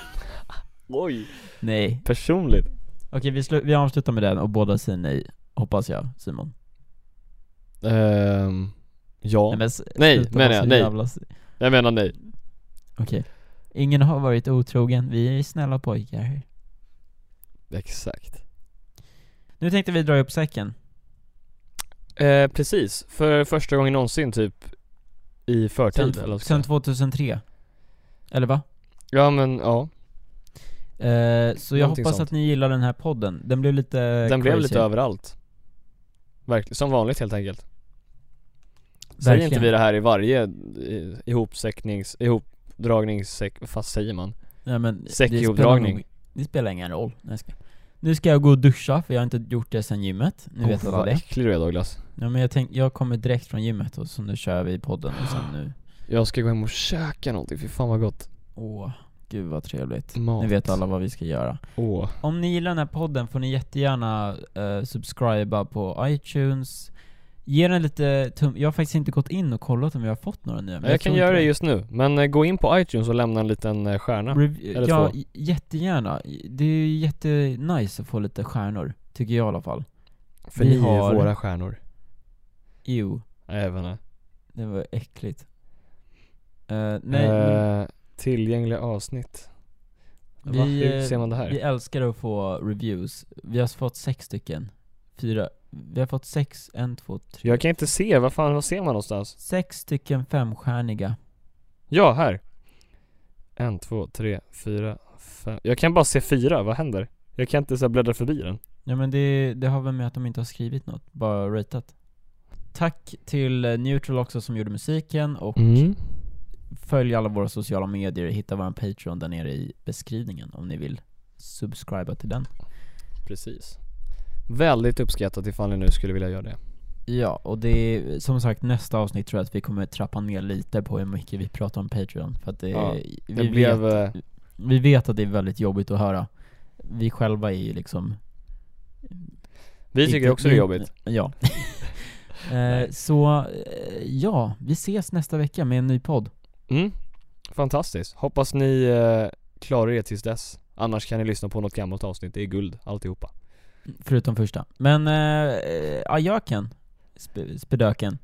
Speaker 2: Oj.
Speaker 1: Nej.
Speaker 2: Personligt.
Speaker 1: Okej, vi, slu- vi avslutar med den och båda säger nej, hoppas jag, Simon.
Speaker 2: Ehm, ja.
Speaker 1: Nej, men, s-
Speaker 2: Nej,
Speaker 1: sluta
Speaker 2: menar
Speaker 1: vara
Speaker 2: jag,
Speaker 1: så
Speaker 2: nej.
Speaker 1: jävla s-
Speaker 2: Jag menar nej.
Speaker 1: Okej. Ingen har varit otrogen, vi är snälla pojkar.
Speaker 2: Exakt.
Speaker 1: Nu tänkte vi dra upp säcken.
Speaker 2: Eh, precis, för första gången någonsin typ i förtid eller
Speaker 1: Sen,
Speaker 2: vad ska jag
Speaker 1: sen 2003.
Speaker 2: säga.
Speaker 1: Eller va?
Speaker 2: Ja men ja,
Speaker 1: Eh, så jag
Speaker 2: Någonting
Speaker 1: hoppas
Speaker 2: sånt.
Speaker 1: att ni gillar den här podden. Den blev lite
Speaker 2: den blev
Speaker 1: crazy.
Speaker 2: lite överallt. Verkligen, som vanligt helt enkelt. Säger
Speaker 1: Verkligen.
Speaker 2: inte vi det här i varje eh, ihopsäcknings, ihopdragningssäck, vad fan säger man?
Speaker 1: Nej, men
Speaker 2: Säckjobbdragning.
Speaker 1: Det spelar, nog- det spelar ingen roll. Nej, jag ska. Nu ska jag gå och duscha, för jag har inte gjort det sen gymmet. Nu vet
Speaker 2: Åh,
Speaker 1: jag vad det är.
Speaker 2: äcklig du är Douglas.
Speaker 1: Ja, men jag, tänk, jag kommer direkt från gymmet och så nu kör vi podden och sen nu...
Speaker 2: Jag ska gå hem och käka någonting, fy fan vad gott.
Speaker 1: Åh, gud vad trevligt.
Speaker 2: Mat.
Speaker 1: Nu vet alla vad vi ska göra.
Speaker 2: Åh.
Speaker 1: Om ni gillar den här podden får ni jättegärna eh, subscriba på iTunes. Ge den lite tum... Jag har faktiskt inte gått in och kollat om vi har fått några nya. men
Speaker 2: Jag, jag kan
Speaker 1: tror inte
Speaker 2: göra det just nu, men eh, gå in på iTunes och lämna en liten eh, stjärna.
Speaker 1: Rev-
Speaker 2: Eller
Speaker 1: ja,
Speaker 2: två.
Speaker 1: j- jättegärna. Det är ju jättenice att få lite stjärnor, tycker jag i alla fall.
Speaker 2: För
Speaker 1: vi
Speaker 2: ni är
Speaker 1: har-
Speaker 2: ju våra stjärnor.
Speaker 1: Jo,
Speaker 2: Även
Speaker 1: det var äckligt. Eh, nej,
Speaker 2: Nej,
Speaker 1: men
Speaker 2: eh, Tillgängliga avsnitt.
Speaker 1: Vi,
Speaker 2: Va? Hur
Speaker 1: eh,
Speaker 2: ser man det här?
Speaker 1: vi älskar att få reviews. Vi har fått sex stycken. Fyra. Vi har fått sex, en, två, tre.
Speaker 2: Jag kan inte se, vad fan, vad ser man någonstans?
Speaker 1: Sex stycken femstjärniga.
Speaker 2: Ja, här! En, två, tre, fyra, fem. Jag kan bara se fyra, vad händer? Jag kan inte så här bläddra förbi den.
Speaker 1: Ja men det, det har väl med att de inte har skrivit något, bara ratat. Tack till eh, Neutral också som gjorde musiken och
Speaker 2: Mm.
Speaker 1: följ alla våra sociala medier, hitta vår Patreon där nere i beskrivningen om ni vill subscriba till den.
Speaker 2: Precis. Väldigt uppskattat ifall ni nu skulle vilja göra det.
Speaker 1: Ja, och det är som sagt nästa avsnitt tror jag att vi kommer trappa ner lite på hur mycket vi pratar om Patreon för att det,
Speaker 2: Ja,
Speaker 1: vi,
Speaker 2: Det blev,
Speaker 1: vet,
Speaker 2: eh,
Speaker 1: vi vet att det är väldigt jobbigt att höra. Vi själva är ju liksom
Speaker 2: vi tycker
Speaker 1: Inte-
Speaker 2: också det är jobbigt.
Speaker 1: Ja. eh, så, eh, ja, vi ses nästa vecka med en ny podd.
Speaker 2: Mm. Fantastiskt. Hoppas ni eh, klarar er tills dess. Annars kan ni lyssna på något gammalt avsnitt, det är guld alltihopa.
Speaker 1: Förutom första. Men, eh, eh, ajöken. Sp- spedöken.